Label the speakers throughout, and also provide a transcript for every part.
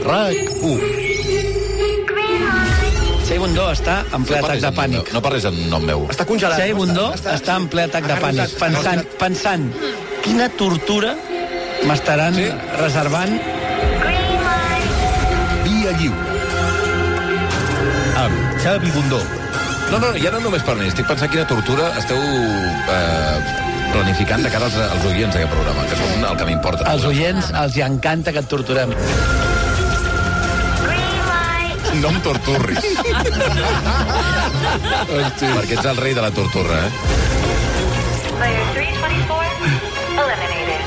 Speaker 1: RAC1.
Speaker 2: Xavi Bundó està en ple atac de pànic.
Speaker 3: No parles en nom meu.
Speaker 4: Està congelat.
Speaker 2: Xavi Bundó està en ple atac de pànic, pensant, pensant quina tortura m'estaran reservant
Speaker 1: Via lliure. Amb Xavi Bundó.
Speaker 3: No, no, ja no només per mi. Estic pensant quina tortura esteu eh, planificant de cara als, als oients d'aquest programa, que són el que m'importa.
Speaker 2: els oients, els hi encanta que et torturem.
Speaker 3: No em torturris. Hosti. Perquè ets el rei de la tortura, eh?
Speaker 5: Player 324 eliminated.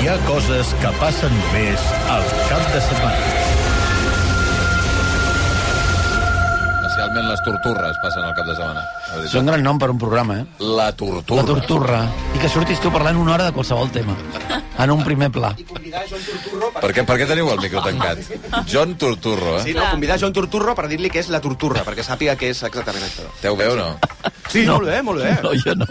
Speaker 1: Hi ha coses que passen només al cap de setmana.
Speaker 3: Especialment les torturres passen al cap de setmana. La
Speaker 2: És un
Speaker 3: veritat.
Speaker 2: gran nom per un programa, eh?
Speaker 3: La
Speaker 2: La
Speaker 3: torturra.
Speaker 2: torturra. I que surtis tu parlant una hora de qualsevol tema. En un primer pla.
Speaker 3: Per què, per què teniu el micro tancat? John Torturro, eh?
Speaker 4: Sí, no, convidar Joan Torturro per dir-li que és la torturra, perquè sàpiga que és exactament això.
Speaker 3: Teu veu, no?
Speaker 4: Sí, no. molt bé, molt bé.
Speaker 2: No, jo no.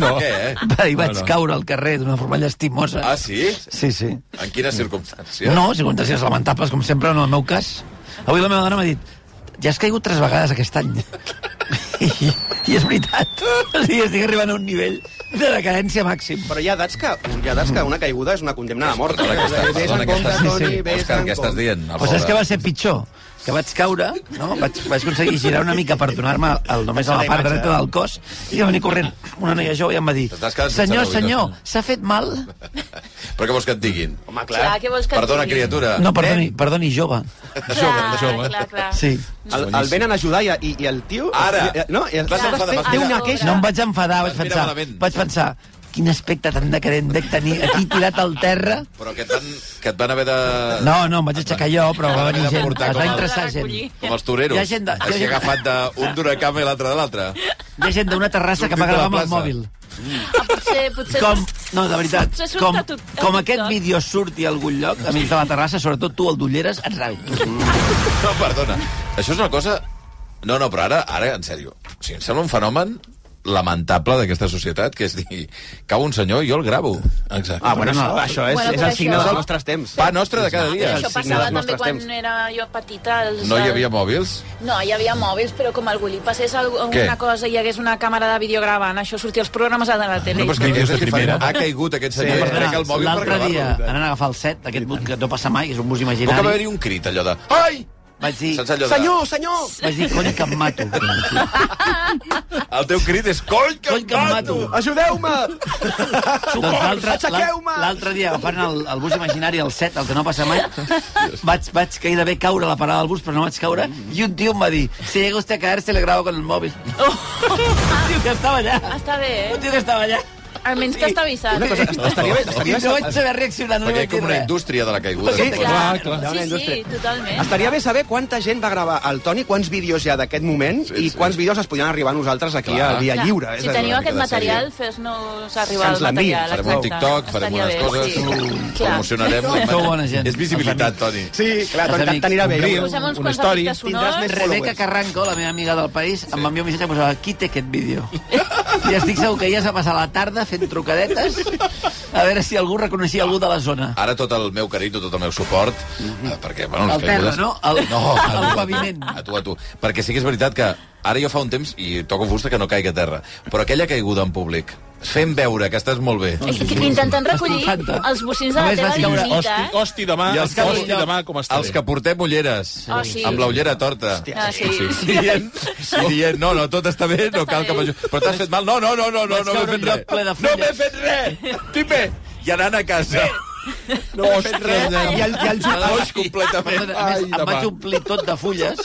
Speaker 3: No. Què, eh?
Speaker 2: Ahir vaig caure al carrer d'una forma llastimosa.
Speaker 3: Ah, sí?
Speaker 2: Sí, sí.
Speaker 3: En quines circumstàncies?
Speaker 2: No, circumstàncies lamentables, com sempre, en el meu cas. Avui la meva dona m'ha dit ja has caigut tres vegades aquest any. I, i és veritat. O sigui, estic arribant a un nivell de decadència màxim.
Speaker 4: Però hi ha edats que, hi ha edats que una caiguda és una condemna a Ah, mort.
Speaker 3: Perdona, que estàs,
Speaker 4: Vés
Speaker 3: perdona,
Speaker 4: en
Speaker 3: que
Speaker 4: compte,
Speaker 3: estàs,
Speaker 4: Toni,
Speaker 2: Sí, sí.
Speaker 4: vés
Speaker 3: Òscar,
Speaker 4: en
Speaker 3: què estàs
Speaker 4: compte.
Speaker 3: dient? El
Speaker 2: Però
Speaker 3: Ah,
Speaker 2: saps
Speaker 3: pobre.
Speaker 2: què Doncs va ser pitjor? Que vaig caure, no? vaig, vaig aconseguir girar una mica per donar-me el- només a la part dreta del cos i va venir corrent una noia jove i em va dir
Speaker 3: T'estàs quedant sense
Speaker 2: senyor,
Speaker 3: reubicació".
Speaker 2: senyor, s'ha fet mal?
Speaker 3: Però què vols que et diguin?
Speaker 4: Home, clar.
Speaker 6: Clar, què vols que et
Speaker 3: Perdona,
Speaker 6: digui?
Speaker 3: criatura. Eh?
Speaker 2: No, perdoni, perdoni, jove.
Speaker 6: Clar, clar, clar.
Speaker 2: Sí.
Speaker 4: El, el venen a ajudar i, i, i el tio...
Speaker 3: Ara.
Speaker 4: I- No, i el
Speaker 3: Clar,
Speaker 4: tio
Speaker 3: s'enfada,
Speaker 4: té
Speaker 6: m'ha
Speaker 4: una
Speaker 6: fet-
Speaker 4: queixa.
Speaker 2: No em vaig enfadar, vaig
Speaker 3: Vas mirar
Speaker 2: pensar,
Speaker 3: malament.
Speaker 2: vaig pensar quin aspecte tan decadent dec tenir aquí tirat al terra.
Speaker 3: Però que et van, que et van haver de...
Speaker 2: No, no, em vaig aixecar jo, però va venir
Speaker 3: Haver de
Speaker 2: gent,
Speaker 3: portar
Speaker 2: es
Speaker 3: com
Speaker 2: va
Speaker 3: el-
Speaker 2: interessar gent.
Speaker 6: Recollir.
Speaker 3: Com els toreros.
Speaker 2: Hi ha gent de- hi ha
Speaker 3: Així
Speaker 2: gent-
Speaker 3: agafat d'un d'una cama i l'altre de l'altra.
Speaker 2: Hi ha gent d'una terrassa
Speaker 3: Sortit
Speaker 2: que
Speaker 3: de la
Speaker 2: m'agradava amb el
Speaker 3: plaça.
Speaker 2: mòbil.
Speaker 6: Ah, potser, potser...
Speaker 2: Com, no, de veritat,
Speaker 6: Potser surt
Speaker 2: com,
Speaker 6: a tu- a
Speaker 2: com
Speaker 6: TikTok.
Speaker 2: aquest vídeo surti a algun lloc, a mig de la terrassa, sobretot tu, el d'Ulleres, et rabi.
Speaker 3: No, perdona. Això és una cosa... No, no, però ara, ara en sèrio. O sigui, em sembla un fenomen lamentable d'aquesta societat, que és dir, cau un senyor i jo el gravo. Exacte.
Speaker 4: Ah, bueno, això, això és,
Speaker 6: Bueno,
Speaker 4: és
Speaker 6: però
Speaker 4: el signe
Speaker 6: això-
Speaker 4: dels nostres temps.
Speaker 3: Pa nostre de cada dia.
Speaker 6: Això
Speaker 4: el signe
Speaker 6: passava
Speaker 4: dels
Speaker 6: també
Speaker 4: nostres
Speaker 6: quan
Speaker 4: temps.
Speaker 6: era jo petita. Els,
Speaker 3: No hi havia mòbils?
Speaker 6: No, hi havia mòbils, però com algú li passés alguna
Speaker 3: Què?
Speaker 6: cosa i hi hagués una càmera de vídeo gravant, això sortia als programes a la tele.
Speaker 3: Ah, No, però és que
Speaker 1: Vídeos
Speaker 3: aquest
Speaker 1: de
Speaker 3: és diferent.
Speaker 1: primera.
Speaker 3: Ha caigut aquest senyor i trec Eh, el mòbil per
Speaker 2: L'altre
Speaker 3: gravar-lo.
Speaker 2: dia, anant a agafar el set, aquest bus que no passa mai, que és un bus
Speaker 3: Però que va haver-hi
Speaker 2: imaginari,
Speaker 3: un crit, allò eh. de... Ai!
Speaker 2: vaig dir,
Speaker 3: Saps allò de...
Speaker 4: Senyor, senyor!
Speaker 2: vaig dir, cony, que em mato.
Speaker 3: El teu crit és... Coll, que
Speaker 2: Cony,
Speaker 3: em
Speaker 2: que em
Speaker 3: mato!
Speaker 2: mato.
Speaker 4: Ajudeu-me!
Speaker 2: Doncs l'altre-
Speaker 4: Aixequeu-me!
Speaker 2: L'altre dia, agafant el, el bus imaginari, el 7, el que no passa mai, vaig, vaig gairebé caure a la parada del bus, però no vaig caure, i un tio em va dir, si llega usted a caerse, le grabo con el móvil. Un tio que estava
Speaker 3: Ah,
Speaker 2: allà.
Speaker 6: Està bé,
Speaker 2: Un
Speaker 6: eh?
Speaker 2: tio que estava allà.
Speaker 6: Almenys t'has avisat.
Speaker 4: Una cosa, estaria bé,
Speaker 2: I
Speaker 4: estaria
Speaker 2: no
Speaker 4: bé,
Speaker 2: vaig saber reaccionar, no li
Speaker 3: Perquè hi ha
Speaker 2: vaig dir
Speaker 3: com una
Speaker 2: res.
Speaker 3: indústria de la caiguda.
Speaker 4: Sí,
Speaker 3: de
Speaker 4: clar.
Speaker 6: Ah, clar.
Speaker 4: Una
Speaker 6: Sí, sí,
Speaker 4: indústria.
Speaker 6: totalment.
Speaker 4: estaria bé saber quanta gent va gravar el Toni, quants vídeos hi ha d'aquest moment i quants vídeos es podien arribar a nosaltres aquí
Speaker 3: Clar.
Speaker 4: a Via
Speaker 6: Clar,
Speaker 4: Lliure. eh,
Speaker 6: Si
Speaker 4: És a dir,
Speaker 6: teniu
Speaker 3: mica
Speaker 6: aquest
Speaker 3: de
Speaker 6: material, fes-nos arribar
Speaker 4: Que ens
Speaker 6: el
Speaker 4: l'enviïn.
Speaker 6: material.
Speaker 3: Farem un
Speaker 6: exacte.
Speaker 3: TikTok, farem
Speaker 6: Estaria
Speaker 3: unes
Speaker 6: bé,
Speaker 3: coses, mm,
Speaker 6: Sí. Clar.
Speaker 3: promocionarem... la
Speaker 2: Sou
Speaker 3: imatge.
Speaker 2: bona gent.
Speaker 3: És visibilitat, Toni.
Speaker 4: Sí, clar,
Speaker 2: Els
Speaker 4: Toni,
Speaker 2: amics.
Speaker 4: t'anirà bé.
Speaker 3: Obriu.
Speaker 6: Posem uns
Speaker 4: un
Speaker 6: quants
Speaker 4: story,
Speaker 6: efectes
Speaker 4: tindràs més
Speaker 6: sonors.
Speaker 2: Rebeca
Speaker 4: followers.
Speaker 2: Carranco, la meva amiga del país, em va enviar un missatge i posava qui té aquest vídeo? I estic segur que ja es va passar la tarda fent trucadetes a veure si algú reconeixia algú de la zona.
Speaker 3: Ara tot el meu carinyo, tot el meu suport, eh, perquè, bueno, les
Speaker 2: Mhm. Al terra,
Speaker 3: caigudes-
Speaker 2: no? Al-
Speaker 3: no, a
Speaker 2: al
Speaker 3: tu,
Speaker 2: paviment.
Speaker 3: A tu, a tu. Perquè sí que és veritat que ara jo fa un temps, i toco fusta, que no caigui a terra, però aquella caiguda en públic, fent veure que estàs molt bé...
Speaker 6: Intentant recollir
Speaker 2: Fanta.
Speaker 6: els bocins de la
Speaker 2: Només
Speaker 6: teva
Speaker 2: vas caure.
Speaker 6: llumita, eh?
Speaker 7: hosti demà,
Speaker 3: I els que-
Speaker 7: hosti demà Ah, com està
Speaker 3: Els que portem ulleres,
Speaker 6: Ah, sí.
Speaker 3: amb la ullera torta.
Speaker 6: Ah, sí.
Speaker 3: I dient, i dient, no, no, tot està bé, no
Speaker 6: està
Speaker 3: cal que
Speaker 6: bé.
Speaker 3: m'ajudi. Però t'has fet mal? No, no, no, no, no,
Speaker 2: Vaig
Speaker 3: no m'he
Speaker 2: caure
Speaker 3: fet
Speaker 2: en un lloc ple de
Speaker 3: res. No m'he
Speaker 2: fulles.
Speaker 3: fet res. Estic bé. I anant a casa. No m'he fet res.
Speaker 4: I el, i el
Speaker 3: Els
Speaker 4: Joan,
Speaker 3: ulls completament.
Speaker 2: Perdona, a més, em vaig omplir tot de fulles,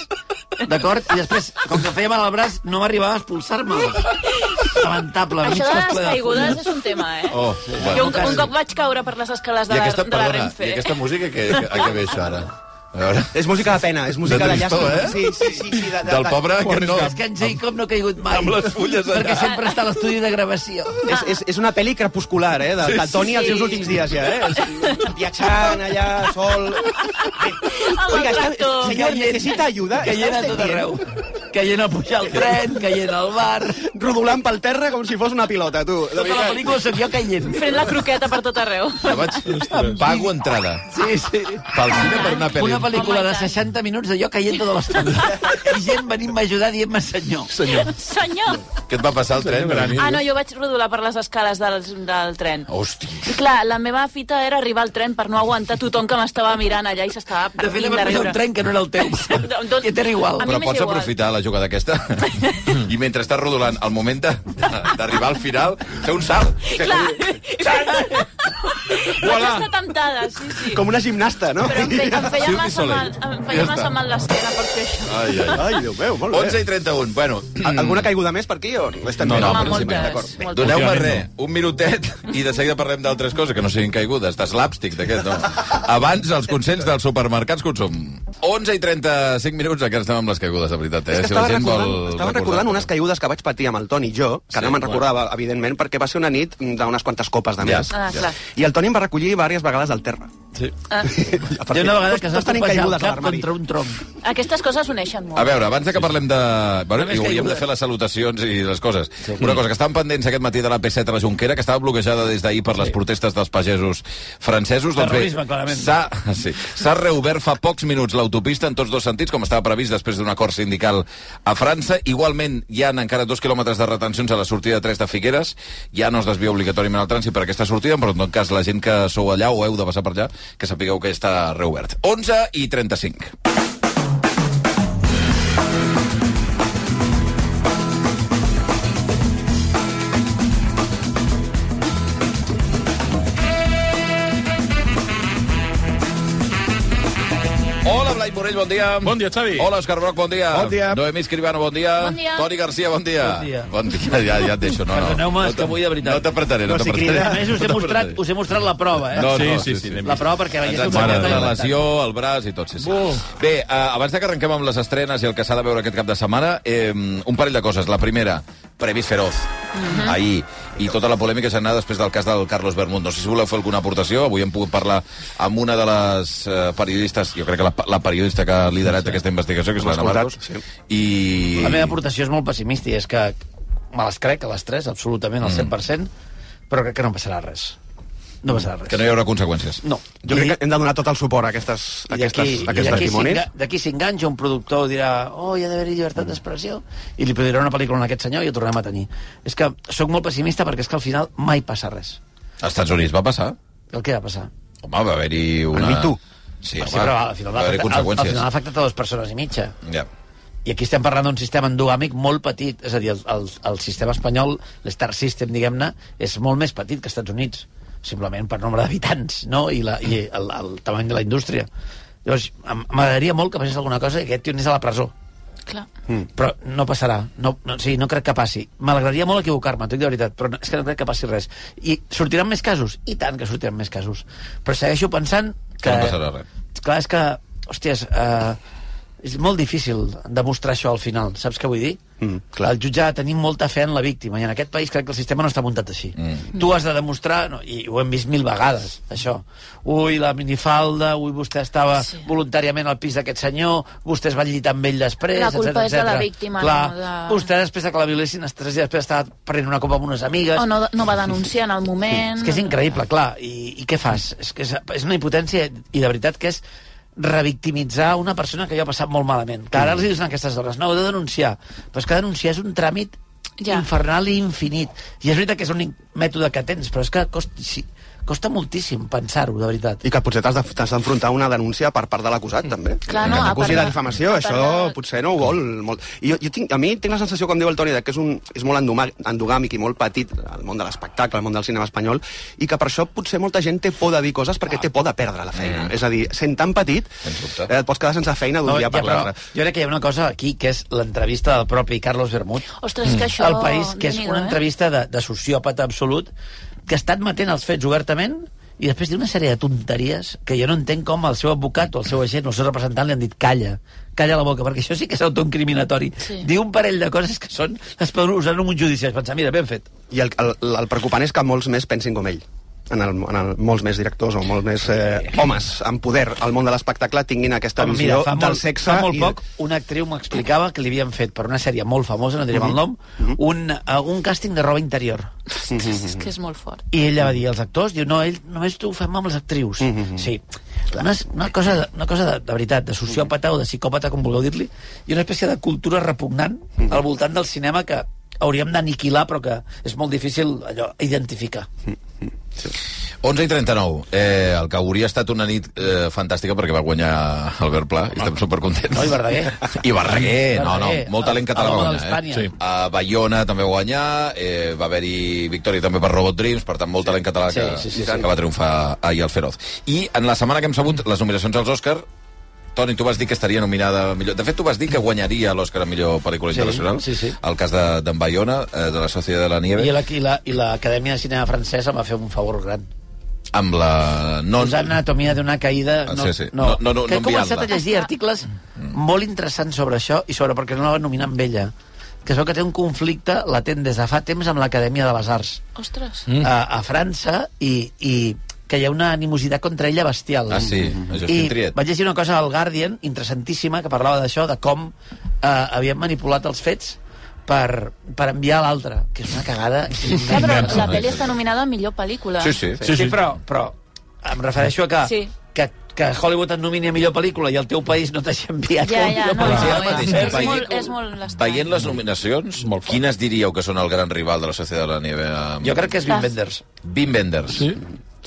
Speaker 2: d'acord? I després, com que feia mal al braç, no m'arribava a expulsar-me. Lamentable. mig
Speaker 6: Això de
Speaker 2: cos
Speaker 6: les
Speaker 2: ple de
Speaker 6: caigudes
Speaker 2: fulles.
Speaker 6: és un tema, eh?
Speaker 3: Oh,
Speaker 6: Jo
Speaker 3: bueno.
Speaker 6: un, un cop vaig caure per les escales de,
Speaker 3: I aquesta,
Speaker 6: la, de la
Speaker 3: perdona,
Speaker 6: Renfe.
Speaker 3: i aquesta música, que, a què ve això ara? A veure...
Speaker 4: és música de pena, és música de,
Speaker 3: tristor,
Speaker 4: llàstima.
Speaker 3: eh?
Speaker 4: Sí, sí, sí. sí de, de,
Speaker 3: Del pobre que no...
Speaker 2: És que en Jacob no ha caigut mai.
Speaker 3: Amb les fulles allà.
Speaker 2: Perquè sempre està a l'estudi de gravació.
Speaker 4: És, és, és una pel·li crepuscular, eh? De, del Toni als seus últims dies, ja, eh? Viatjant allà, sol...
Speaker 6: Amb el
Speaker 4: Oiga,
Speaker 6: tractor.
Speaker 4: senyor, necessita ajuda?
Speaker 2: Que hi era
Speaker 4: Està
Speaker 2: tot
Speaker 4: usted
Speaker 2: arreu.
Speaker 4: bien?
Speaker 2: caient a pujar al tren, caient al bar...
Speaker 4: rodolant pel terra com si fos una pilota, tu. De
Speaker 3: eh?
Speaker 2: Tota la
Speaker 4: veritat.
Speaker 2: pel·lícula sóc jo caient.
Speaker 6: Fent la croqueta per tot arreu.
Speaker 3: Jo vaig... Pago entrada.
Speaker 2: Sí, sí.
Speaker 3: Pel cine per una pel·li.
Speaker 2: Una pel·lícula
Speaker 6: Home,
Speaker 2: de
Speaker 6: i tant.
Speaker 2: 60 minuts de jo caient tota l'estona. I gent venint-me a ajudar dient-me senyor.
Speaker 3: Senyor,
Speaker 6: Senyor!
Speaker 3: què et va passar al tren?
Speaker 6: Ah, no, jo vaig rodolar per les escales del, del tren.
Speaker 3: Hòstia.
Speaker 6: I clar, la meva fita era arribar al tren per no aguantar tothom que m'estava mirant allà i s'estava
Speaker 2: De fet,
Speaker 6: partint
Speaker 2: va
Speaker 6: de
Speaker 2: posar un
Speaker 6: riure.
Speaker 2: tren que no era el teu.
Speaker 6: Doncs-
Speaker 2: Que t'era igual.
Speaker 6: A mi
Speaker 3: Però
Speaker 6: m'és
Speaker 3: pots
Speaker 6: igual.
Speaker 3: aprofitar la jugada aquesta i mentre estàs rodolant el moment de- d'arribar al final fer un salt. Fer
Speaker 6: Clar,
Speaker 3: un-
Speaker 6: vaig
Speaker 3: Voilà.
Speaker 6: estar temptada, sí, sí.
Speaker 4: Com una gimnasta, no?
Speaker 6: Però em, fe, em feia
Speaker 3: Cirque
Speaker 6: massa
Speaker 3: Soleil.
Speaker 6: mal, em feia
Speaker 3: Ja està.
Speaker 6: massa mal l'esquena per fer això.
Speaker 3: Ai, ai.
Speaker 4: Ai, Déu meu, molt
Speaker 3: 11
Speaker 4: bé.
Speaker 3: i 31, bueno...
Speaker 4: Al- Alguna caiguda més per aquí o l'estem
Speaker 3: No,
Speaker 4: bé?
Speaker 3: no,
Speaker 6: Home,
Speaker 3: però sí,
Speaker 6: moltes,
Speaker 3: d'acord. Bé,
Speaker 6: moltes.
Speaker 3: Doneu-me
Speaker 1: Últimament
Speaker 3: res, un minutet, i de seguida parlem d'altres coses que no siguin caigudes, de slapstick, d'aquest, no. Abans, els consells dels supermercats consum. 11 i 35 minuts, encara estem amb les caigudes, de veritat, eh?
Speaker 4: És que estava, recordant, estava recordant unes caigudes que vaig patir amb el Toni i jo, que
Speaker 3: Sí,
Speaker 4: no me'n
Speaker 3: clar.
Speaker 4: recordava, evidentment, perquè va ser una nit d'unes quantes copes de més.
Speaker 6: Ah, clar.
Speaker 4: I el Toni em va recollir diverses vegades al terra.
Speaker 1: Sí.
Speaker 6: Ah,
Speaker 2: Jo una vegada que s'ha
Speaker 4: Tots tenim
Speaker 2: copejar el
Speaker 4: caigudes a
Speaker 2: cap
Speaker 4: l'armari.
Speaker 2: contra un tronc.
Speaker 6: aquestes coses uneixen molt.
Speaker 3: A veure, abans de que parlem de... Bueno,
Speaker 2: Només
Speaker 3: i hauríem
Speaker 2: caigudes.
Speaker 3: de fer les salutacions i les coses. Una cosa, que estàvem pendents aquest matí de la P7 a la Junquera, que estava bloquejada des d'ahir per les protestes dels pagesos francesos. Doncs
Speaker 2: Terrorisme, clarament.
Speaker 3: S'ha sí, s'ha reobert fa pocs minuts l'autopista en tots dos sentits, com estava previst després d'un acord sindical a França. Igualment, hi han encara dos quilòmetres de retencions a la sortida 3 de Figueres. Ja no es desvia obligatòriament el trànsit per aquesta sortida, però en tot cas la gent que sou allà o heu de passar per allà, que sapigueu que està reobert. 11 i 35. Hola, Blai Morell, bon dia.
Speaker 1: Bon dia, Xavi.
Speaker 3: Hola, Òscar Broc, bon dia.
Speaker 4: Bon dia.
Speaker 3: Noemí Escribano, bon dia.
Speaker 6: Bon dia.
Speaker 3: Toni Garcia, bon dia.
Speaker 2: Bon dia.
Speaker 3: Bon dia, ja, ja et deixo. No, no.
Speaker 2: Perdoneu-me, és
Speaker 3: no
Speaker 2: que avui, de veritat.
Speaker 3: No t'apretaré, no,
Speaker 4: No, si
Speaker 3: t'apretaré.
Speaker 2: A més, us he,
Speaker 3: No
Speaker 2: mostrat,
Speaker 3: t'apretaré.
Speaker 2: us he mostrat la prova, eh?
Speaker 3: No,
Speaker 1: Sí,
Speaker 3: no,
Speaker 1: sí, sí, l'hem
Speaker 2: La prova perquè
Speaker 3: Ens
Speaker 2: veieu
Speaker 3: han
Speaker 2: que
Speaker 3: mare,
Speaker 2: us
Speaker 3: la
Speaker 2: heu
Speaker 3: lesió, el braç i tot, sí, sí.
Speaker 1: Buf.
Speaker 3: Bé, eh, abans de que arrenquem amb les estrenes i el que s'ha de veure aquest cap de setmana, eh, un parell de coses. La primera, Previs Feroz, ahir, i tota la polèmica s'ha anat després del cas del Carlos Bermud. No sé si voleu fer alguna aportació, avui hem pogut parlar amb una de les eh, periodistes, jo crec que la, la periodista que ha liderat aquesta investigació, que és
Speaker 4: Hem
Speaker 3: la Ana Marcos,
Speaker 4: escoltat, sí.
Speaker 3: i...
Speaker 2: La meva aportació és molt pessimista i és que me les crec a les 3, absolutament,
Speaker 3: Mm.
Speaker 2: al 100%, però crec que no passarà res. No passarà res.
Speaker 3: que no hi haurà conseqüències.
Speaker 2: No.
Speaker 4: Jo crec que hem de donar tot el suport a aquestes, a
Speaker 2: I
Speaker 4: aquestes,
Speaker 2: d'aquí-
Speaker 4: a aquests
Speaker 2: i d'aquí
Speaker 4: testimonis.
Speaker 2: s'enga- D'aquí s'enganxa un productor dirà oh, hi ha d'haver-hi llibertat d'expressió i li produirà una pel·lícula a aquest senyor i ho tornem a tenir. És que sóc molt pessimista perquè és que al final mai passa res.
Speaker 3: Als Estats Units va passar.
Speaker 2: El que va passar?
Speaker 3: Home, va haver-hi una...
Speaker 4: Me Too.
Speaker 3: Sí, home,
Speaker 2: Ah, sí, però al final,
Speaker 3: va
Speaker 2: va
Speaker 3: haver-hi
Speaker 2: afectar, al, al
Speaker 3: conseqüències.
Speaker 2: final ha afectat a dues persones i mitja.
Speaker 3: Ja.
Speaker 2: I aquí estem parlant d'un sistema endogàmic molt petit. És a dir, el, el, el sistema espanyol, l'Star System, diguem-ne, és molt més petit que als Estats Units, simplement per nombre d'habitants, no? I, la, i el, el tamany de la indústria. Llavors, em- m'agradaria molt que passés alguna cosa i aquest tio anés a la presó.
Speaker 6: Clar.
Speaker 3: Hmm.
Speaker 2: Però no passarà. No, no, sí, no crec que passi. M'agradaria molt equivocar-me, t'ho dic de veritat, però no- és que no crec que passi res. I sortiran més casos? I tant que sortiran més casos. Però segueixo pensant que...
Speaker 3: Que no passarà res.
Speaker 2: Clar, és que, hòsties, eh, és molt difícil demostrar això al final, saps què vull dir?
Speaker 3: Hmm,
Speaker 4: Mm, clar.
Speaker 2: El jutge ha de tenir molta fe en la víctima, i en aquest país crec que el sistema no està muntat així.
Speaker 3: Hmm.
Speaker 2: Mm. Tu has de demostrar, no, i ho hem vist mil vegades, això, ui, la minifalda, ui, vostè estava
Speaker 6: Sí.
Speaker 2: sí. voluntàriament al pis d'aquest senyor, vostè es va llitar amb ell després,
Speaker 6: La culpa
Speaker 2: etcètera,
Speaker 6: és de la
Speaker 2: etcètera.
Speaker 6: víctima,
Speaker 2: Clar,
Speaker 6: no de-
Speaker 2: vostè després de que la violessin, tres dies després estava prenent una copa amb unes amigues,
Speaker 6: O Oh, no, no va denunciar en el moment.
Speaker 2: és que és increïble, clar. I, i què fas? És, que és, és una impotència i de veritat que és revictimitzar una persona que ja ha passat molt malament. Que ara els dius a aquestes dones, no, heu de denunciar. Però és que denunciar és un tràmit
Speaker 6: Ja.
Speaker 2: ja. infernal i infinit. I és veritat que és l'únic mètode que tens, però és que costa, sí, costa moltíssim pensar-ho, de veritat.
Speaker 4: I que potser t'has de- t'has d'enfrontar a una denúncia per part de l'acusat, també.
Speaker 6: Clar, no, a
Speaker 4: Acusi
Speaker 6: part
Speaker 4: de
Speaker 6: de-
Speaker 4: difamació,
Speaker 6: a part
Speaker 4: això
Speaker 6: de-
Speaker 4: potser no ho vol molt. I jo, jo tinc, a mi tinc la sensació, com diu el Toni, de que és, un, és molt endoma- endogàmic i molt petit el món de l'espectacle, el món del cinema espanyol, i que per això potser molta gent té por de dir coses perquè té por de perdre la feina.
Speaker 6: Mm.
Speaker 4: És a dir, sent tan petit,
Speaker 3: Sens dubte.
Speaker 4: eh, et pots quedar sense feina d'un
Speaker 2: No,
Speaker 4: dia per l'altre.
Speaker 2: jo crec que hi ha una cosa aquí que és l'entrevista del propi Carlos Bermud
Speaker 6: Ostres, és que això...
Speaker 2: Mm. El País, que és
Speaker 6: Déu-n'hi-do, eh?
Speaker 2: una entrevista de, de sociòpata absolut, que està admetent els fets obertament i després diu una sèrie de tonteries que jo no entenc com el seu advocat o el seu agent o el seu representant li han dit calla, calla la boca, perquè això sí que és autoincriminatori.
Speaker 6: Sí.
Speaker 2: Sí. Diu un parell de coses que són... Es poden usar en un judici. Es pensa, mira, ben fet.
Speaker 4: I el, el, el preocupant és que molts més pensin com ell. en, el, en el, molts més directors o molts més eh, homes amb poder al món de l'espectacle tinguin aquesta
Speaker 2: Home,
Speaker 4: visió
Speaker 2: fa
Speaker 4: del
Speaker 2: molt-
Speaker 4: sexe.
Speaker 2: Fa molt
Speaker 4: i-
Speaker 2: poc, una actriu m'explicava que li havien fet per una sèrie molt famosa, no
Speaker 4: Mhm.
Speaker 2: direm el nom, un, eh, un càsting de roba interior.
Speaker 6: Ostres,
Speaker 2: Mm,
Speaker 6: és que és molt fort.
Speaker 2: I ella va dir als actors, diu, no, ell, només tu ho fem amb les actrius.
Speaker 3: Mm,
Speaker 2: Sí. Una, una cosa, de, una cosa de, de veritat, de
Speaker 3: Mm.
Speaker 2: sociòpata o de psicòpata, com vulgueu dir-li, i una espècie de cultura repugnant
Speaker 3: Mm.
Speaker 2: al voltant del cinema que hauríem d'aniquilar, però que és molt difícil allò identificar.
Speaker 3: 11 i 39. Eh, el que hauria estat una nit eh, fantàstica perquè va guanyar Albert Pla i estem supercontents.
Speaker 2: No, i Verdaguer.
Speaker 3: I Verdaguer, no, no,
Speaker 2: Verdaguer,
Speaker 3: molt talent català va
Speaker 2: l'home de
Speaker 3: guanyar. Eh?
Speaker 2: l'Espanya. Sí.
Speaker 3: A Bayona també va guanyar, eh, va haver-hi victòria també per Robot Dreams, per tant, molt talent català
Speaker 2: Sí,
Speaker 3: que,
Speaker 2: sí, sí, sí.
Speaker 3: que va triomfar ahir al Feroz. I en la setmana que hem sabut les nominacions als Òscar, Toni, tu vas dir que estaria nominada a millor... De fet, tu vas dir que guanyaria l'Òscar a millor pel·lícula
Speaker 2: Sí,
Speaker 3: internacional.
Speaker 2: sí, sí.
Speaker 3: El cas de- d'en de, Bayona, eh, de la Societat de la Nieve,
Speaker 2: I la- i la- i l'Acadèmia de Cinema Francesa em va fer un favor gran.
Speaker 3: amb la... No, Ah,
Speaker 2: Us han anatomia d'una caïda... No,
Speaker 3: Sí, sí.
Speaker 2: No,
Speaker 3: No, no, no,
Speaker 2: que he
Speaker 3: no
Speaker 2: començat a
Speaker 3: enviant-la.
Speaker 2: llegir articles molt interessants sobre això i sobre perquè no la van nominar amb ella que es veu que té un conflicte latent des de fa temps amb l'Acadèmia de les Arts
Speaker 6: Ostres.
Speaker 2: mm. a, a França i, i que hi ha una animositat contra ella bestial.
Speaker 3: Ah, sí? A Justin
Speaker 2: I
Speaker 3: Triet.
Speaker 2: vaig llegir una cosa al Guardian, interessantíssima, que parlava d'això, de com eh, havien manipulat els fets per, per enviar a l'altre, que és una cagada.
Speaker 6: Ja, però
Speaker 3: Venganza.
Speaker 6: la pel·li està nominada a millor pel·lícula.
Speaker 3: Sí, sí.
Speaker 2: Sí, sí, però, però em refereixo a que, sí.
Speaker 6: Sí.
Speaker 2: que, que Hollywood et nomini a millor pel·lícula i el teu país no t'hagi enviat com
Speaker 6: Ja,
Speaker 2: a
Speaker 6: ja,
Speaker 2: millor
Speaker 6: no,
Speaker 2: pel·lícula.
Speaker 3: Però
Speaker 6: no,
Speaker 3: mateix,
Speaker 6: Ah, és,
Speaker 3: veient-
Speaker 6: molt, és molt estrany.
Speaker 3: Veient les nominacions,
Speaker 7: Molt fort.
Speaker 3: quines diríeu que són el gran rival de la Societat de la Nieve? Amb...
Speaker 2: Jo crec que és
Speaker 6: Ah.
Speaker 2: Wim Wenders.
Speaker 3: Wim Wenders.
Speaker 7: Sí?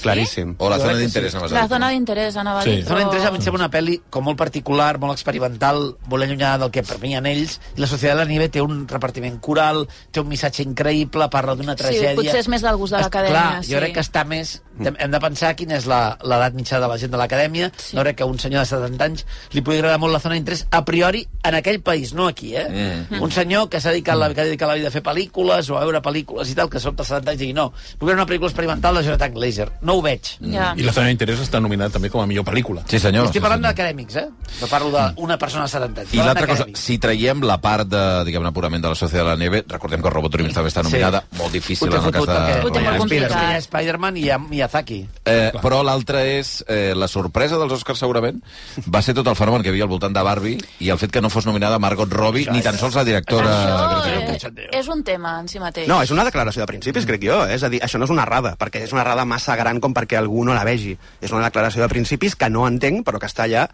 Speaker 4: Claríssim.
Speaker 3: O la
Speaker 2: Jo
Speaker 3: zona
Speaker 2: crec que
Speaker 3: d'interès,
Speaker 2: sí.
Speaker 3: no m'has
Speaker 6: La
Speaker 3: dit.
Speaker 6: zona d'interès, Anna va
Speaker 7: Sí.
Speaker 6: dir.
Speaker 2: Zona d'interès
Speaker 6: Oh.
Speaker 2: em sembla una pel·li com molt particular, molt experimental, molt allunyada del que per mi en ells. I La Societat de la Nieve té un repartiment coral, té un missatge increïble, parla d'una
Speaker 6: Sí,
Speaker 2: tragèdia...
Speaker 6: potser és més del gust de
Speaker 2: Es-
Speaker 6: l'acadèmia,
Speaker 2: Clar,
Speaker 6: sí.
Speaker 2: jo crec que està més... Hem de pensar quina és la- l'edat mitja de la gent de l'acadèmia.
Speaker 6: Sí.
Speaker 2: No crec que a un senyor de 70 anys li pugui agradar molt la zona d'interès a priori en aquell país, no aquí, eh? Un senyor que s'ha dedicat, la, que ha dedicat la vida a fer pel·lícules o a veure pel·lícules i tal, que sobte als 70 anys digui no, vull veure una pel·lícula experimental de Jonathan Glazer. No ho veig.
Speaker 6: Ja.
Speaker 7: I la zona d'interès està nominada també com a millor pel·lícula.
Speaker 3: Sí, senyor. sí,
Speaker 2: Estic parlant
Speaker 3: senyor.
Speaker 2: d'acadèmics, eh? No parlo d'una persona de 70 anys.
Speaker 3: I
Speaker 2: parlo
Speaker 3: l'altra cosa,
Speaker 2: d'acadèmics.
Speaker 3: si traiem la part de, diguem-ne, purament de la Societat de la Neve, recordem que Robot Dreams també està nominada, molt difícil
Speaker 2: Ho té
Speaker 3: en el cas
Speaker 2: fotut, perquè-
Speaker 6: Ho té molt
Speaker 3: de...
Speaker 2: Spider-
Speaker 6: complicat.
Speaker 2: Hi ha Spider-Man i hi ha Miyazaki.
Speaker 3: Eh, però l'altra és eh, la sorpresa dels Oscars segurament va ser tot el fenomen que hi havia al voltant de Barbie i el fet que no fos nominada Margot Robbie ni tan sols la directora
Speaker 6: Això
Speaker 2: Gràcies,
Speaker 6: és,
Speaker 2: cachondeo.
Speaker 6: és un tema en si mateix.
Speaker 4: No, és una declaració de principis, crec jo. Eh? És a dir, això no és una errada, perquè és una errada massa gran com perquè algú no la vegi. És una declaració de principis que no entenc, però que està allà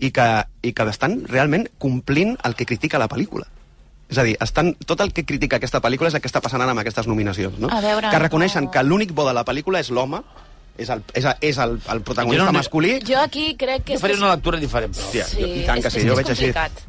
Speaker 4: i que, i que estan realment complint el que critica la pel·lícula. És a dir, estan, tot el que critica aquesta pel·lícula és el que està passant ara amb aquestes nominacions, no?
Speaker 6: A veure,
Speaker 4: que reconeixen
Speaker 6: no.
Speaker 4: que l'únic bo de la pel·lícula és l'home, és el, és, el, és el, el
Speaker 2: Jo
Speaker 4: protagonista
Speaker 2: no-
Speaker 4: no, masculí...
Speaker 6: Jo aquí crec que...
Speaker 2: Jo
Speaker 6: és
Speaker 2: faré
Speaker 6: que-
Speaker 2: una lectura diferent, però.
Speaker 4: Hòstia,
Speaker 6: Sí,
Speaker 4: jo, i tant
Speaker 6: és
Speaker 4: que sí,
Speaker 6: és
Speaker 4: jo ho veig així.
Speaker 6: complicat.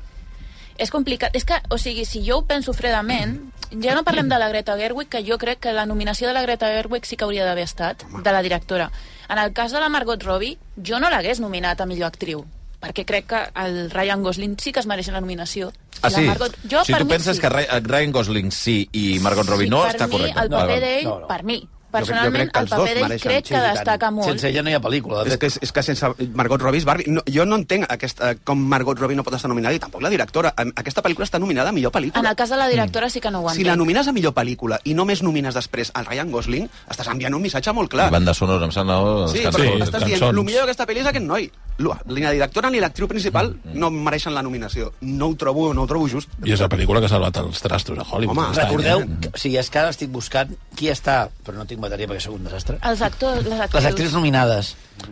Speaker 6: És complicat. És que, o sigui, si jo ho penso fredament, ja no parlem de la Greta Gerwig, que jo crec que la nominació de la Greta Gerwig sí que hauria d'haver estat, de la directora. En el cas de la Margot Robbie, jo no l'hagués nominat a millor actriu, perquè crec que el Ryan Gosling sí que es mereix la nominació.
Speaker 3: Ah, sí?
Speaker 6: La Margot... jo,
Speaker 3: si
Speaker 6: per
Speaker 3: tu
Speaker 6: mi,
Speaker 3: penses
Speaker 6: sí.
Speaker 3: que Ry- Ryan Gosling sí i Margot Robbie
Speaker 6: sí,
Speaker 3: no,
Speaker 6: per
Speaker 3: està
Speaker 6: mi,
Speaker 3: correcte.
Speaker 6: El paper
Speaker 3: D'acord.
Speaker 6: d'ell,
Speaker 2: No, no.
Speaker 6: per mi.
Speaker 4: crec- jo crec
Speaker 6: Personalment,
Speaker 4: que
Speaker 6: el
Speaker 4: els dos
Speaker 6: paper d'ell
Speaker 4: mereixen
Speaker 6: crec que
Speaker 4: Chili Dani.
Speaker 6: destaca molt.
Speaker 2: Sense ella no hi ha pel·lícula. de
Speaker 4: És
Speaker 2: fet.
Speaker 4: que, és, és que sense Margot Robbie és Barbie. No, jo no entenc aquest, eh, com Margot Robbie no pot estar nominada i tampoc la directora. Em- Aquesta pel·lícula està nominada a millor
Speaker 6: En
Speaker 4: pel·lícula.
Speaker 6: el cas de la directora sí que no ho entenc.
Speaker 4: Mm. Si la nomines a millor pel·lícula i només nomines després al Ryan Gosling, estàs enviant un missatge molt clar.
Speaker 3: La banda sonora, em sembla... no?
Speaker 4: Sí,
Speaker 3: Les
Speaker 4: però
Speaker 3: cançons.
Speaker 4: estàs
Speaker 7: cançons.
Speaker 4: dient, el millor d'aquesta pel·li és aquest noi. Lo- Ni la directora ni l'actriu principal
Speaker 2: Mm,
Speaker 4: no mereixen la nominació. No ho trobo, no ho trobo just.
Speaker 7: I és la pel·lícula que ha salvat els trastos a Hollywood.
Speaker 4: Home,
Speaker 7: Aquest any,
Speaker 2: Recordeu,
Speaker 7: eh?
Speaker 2: que, o sigui, és que ara estic buscant qui està, però no tinc bateria perquè sóc un desastre,
Speaker 6: Els actors, les actrius...
Speaker 2: les actrius nominades.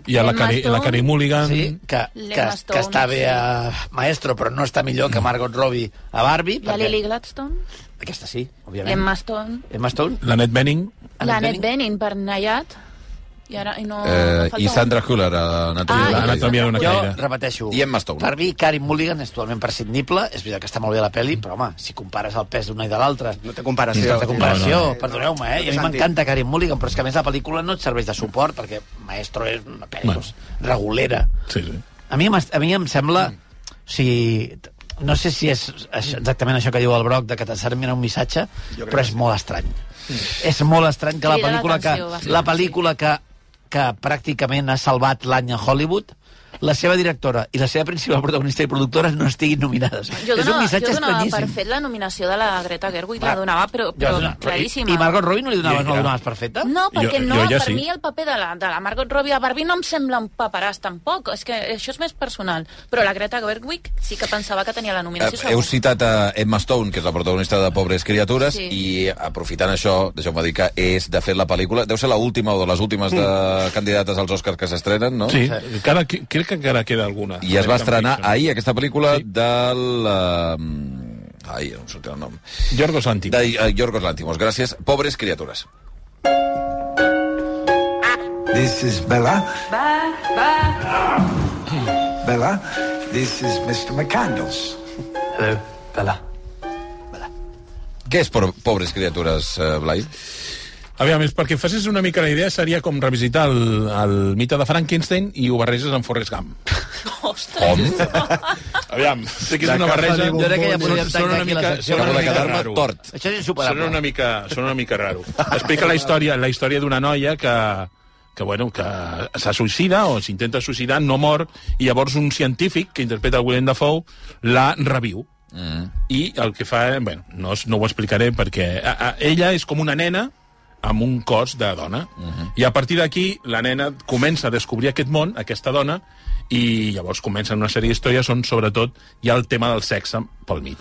Speaker 7: Hi ha la
Speaker 6: Emma
Speaker 7: Cari, la
Speaker 6: Stone.
Speaker 7: Cari Mulligan...
Speaker 2: Sí, que, que,
Speaker 6: L'Emma Stone,
Speaker 2: que està bé a Maestro, però no està millor que Margot Robbie a Barbie.
Speaker 6: La
Speaker 2: perquè-
Speaker 6: Lily Gladstone,
Speaker 2: Aquesta sí, òbviament.
Speaker 6: Emma Stone,
Speaker 2: Emma Stone.
Speaker 7: L'Annette Bening,
Speaker 2: Annette
Speaker 6: l'Annette
Speaker 2: Bening.
Speaker 6: Bening per Nayat, i ara i no...
Speaker 3: Eh,
Speaker 6: em falta
Speaker 3: I
Speaker 6: un.
Speaker 3: Sandra Hüller, a Anatomia
Speaker 6: Ah,
Speaker 3: de la
Speaker 6: i
Speaker 3: Grey.
Speaker 7: Anatomia d'una
Speaker 2: Jo
Speaker 7: caire.
Speaker 2: repeteixo.
Speaker 3: I Emma Stone.
Speaker 2: Per mi, Karim Mulligan és totalment prescindible. És veritat que està molt bé la peli, però, home, si compares el pes d'una i de l'altra...
Speaker 4: No té comparació.
Speaker 2: No té comparació,
Speaker 4: No, no, no.
Speaker 2: perdoneu-me, eh? I a mi
Speaker 4: Santi.
Speaker 2: m'encanta Karim Mulligan, però és que, a més, la pel·lícula no et serveix de suport, perquè Maestro és una pel·li
Speaker 7: Bueno.
Speaker 2: doncs, regulera.
Speaker 7: sí, sí.
Speaker 2: A mi, m'est- a mi em sembla... O sigui, t- no sé si és això- exactament això que diu el Broc, de que t'encermin un missatge,
Speaker 4: crec
Speaker 2: però és molt estrany. És molt estrany que la
Speaker 6: Crida
Speaker 2: pel·lícula que,
Speaker 6: l'atenció bastant,
Speaker 2: la pel·lícula que, que pràcticament ha salvat l'any a Hollywood la seva directora i la seva principal protagonista i productora no estiguin nominades.
Speaker 6: Jo
Speaker 2: és un
Speaker 6: donava,
Speaker 2: missatge
Speaker 6: jo donava per
Speaker 2: estranyíssim.
Speaker 6: fet la nominació de la Greta Gerwig, la
Speaker 2: Va.
Speaker 6: donava, però,
Speaker 2: Jo
Speaker 6: però
Speaker 2: donava-
Speaker 6: claríssima.
Speaker 2: I, I Margot Robbie no li donaves,
Speaker 7: I-
Speaker 2: no la
Speaker 7: ja.
Speaker 2: donaves perfecta?
Speaker 6: No, perquè
Speaker 7: Jo-
Speaker 6: no,
Speaker 7: jo ja
Speaker 6: per
Speaker 7: sí.
Speaker 6: mi el paper de la, de la Margot Robbie a Barbie no em sembla un paperàs tampoc, és que això és més personal. Però la Greta Gerwig sí que pensava que tenia la nominació.
Speaker 3: Eh, Heu
Speaker 6: segur.
Speaker 3: citat a Emma Stone, que és la protagonista de Pobres Criatures,
Speaker 6: Sí.
Speaker 3: sí. i aprofitant això, deixeu-me dir que és, de fet, la pel·lícula... Deu ser l'última o de les últimes de candidates als Oscars que s'estrenen, no?
Speaker 7: Sí, encara, que- crec que encara queda alguna.
Speaker 3: I es va estrenar
Speaker 7: Fiction.
Speaker 3: ahir, aquesta pel·lícula
Speaker 7: Sí.
Speaker 3: sí. del... eh, Ai, no em surt el nom.
Speaker 7: Yorgos Lanthimos.
Speaker 3: De eh, Yorgos Lanthimos, gràcies. Pobres Criatures.
Speaker 8: This is Bella. Bye, bye. Bella, this is Mr. McCandles.
Speaker 3: Què és Por- Pobres Criatures, eh, Blai?
Speaker 7: Aviam, és perquè facis una mica la idea, seria com revisitar el, el mite de Frankenstein i ho barreges amb Forrest Gump. Aviam, sé que és una barreja...
Speaker 2: Jo crec que ja
Speaker 7: Són-
Speaker 2: podríem
Speaker 7: són
Speaker 2: tancar aquí
Speaker 7: una
Speaker 2: la
Speaker 7: mica-
Speaker 2: secció.
Speaker 7: són una
Speaker 3: Acabo de
Speaker 7: mica
Speaker 3: quedar-me
Speaker 7: raro.
Speaker 3: tort.
Speaker 2: Això és
Speaker 7: Sona una
Speaker 2: insuperable.
Speaker 7: mica, sona una mica raro. Explica la història, la història d'una noia que que, bueno, que se suïcida o s'intenta suïcidar, no mor, i llavors un científic que interpreta el Willem Dafoe la reviu. Mm. I el que fa... Bueno, no, us- no ho explicaré perquè a, a, ella és com una nena amb un cos de dona. Mm -hmm. I a partir d'aquí la nena comença a descobrir aquest món, aquesta dona, i llavors comencen una sèrie d'històries on, sobretot, hi ha el tema del sexe pel mig.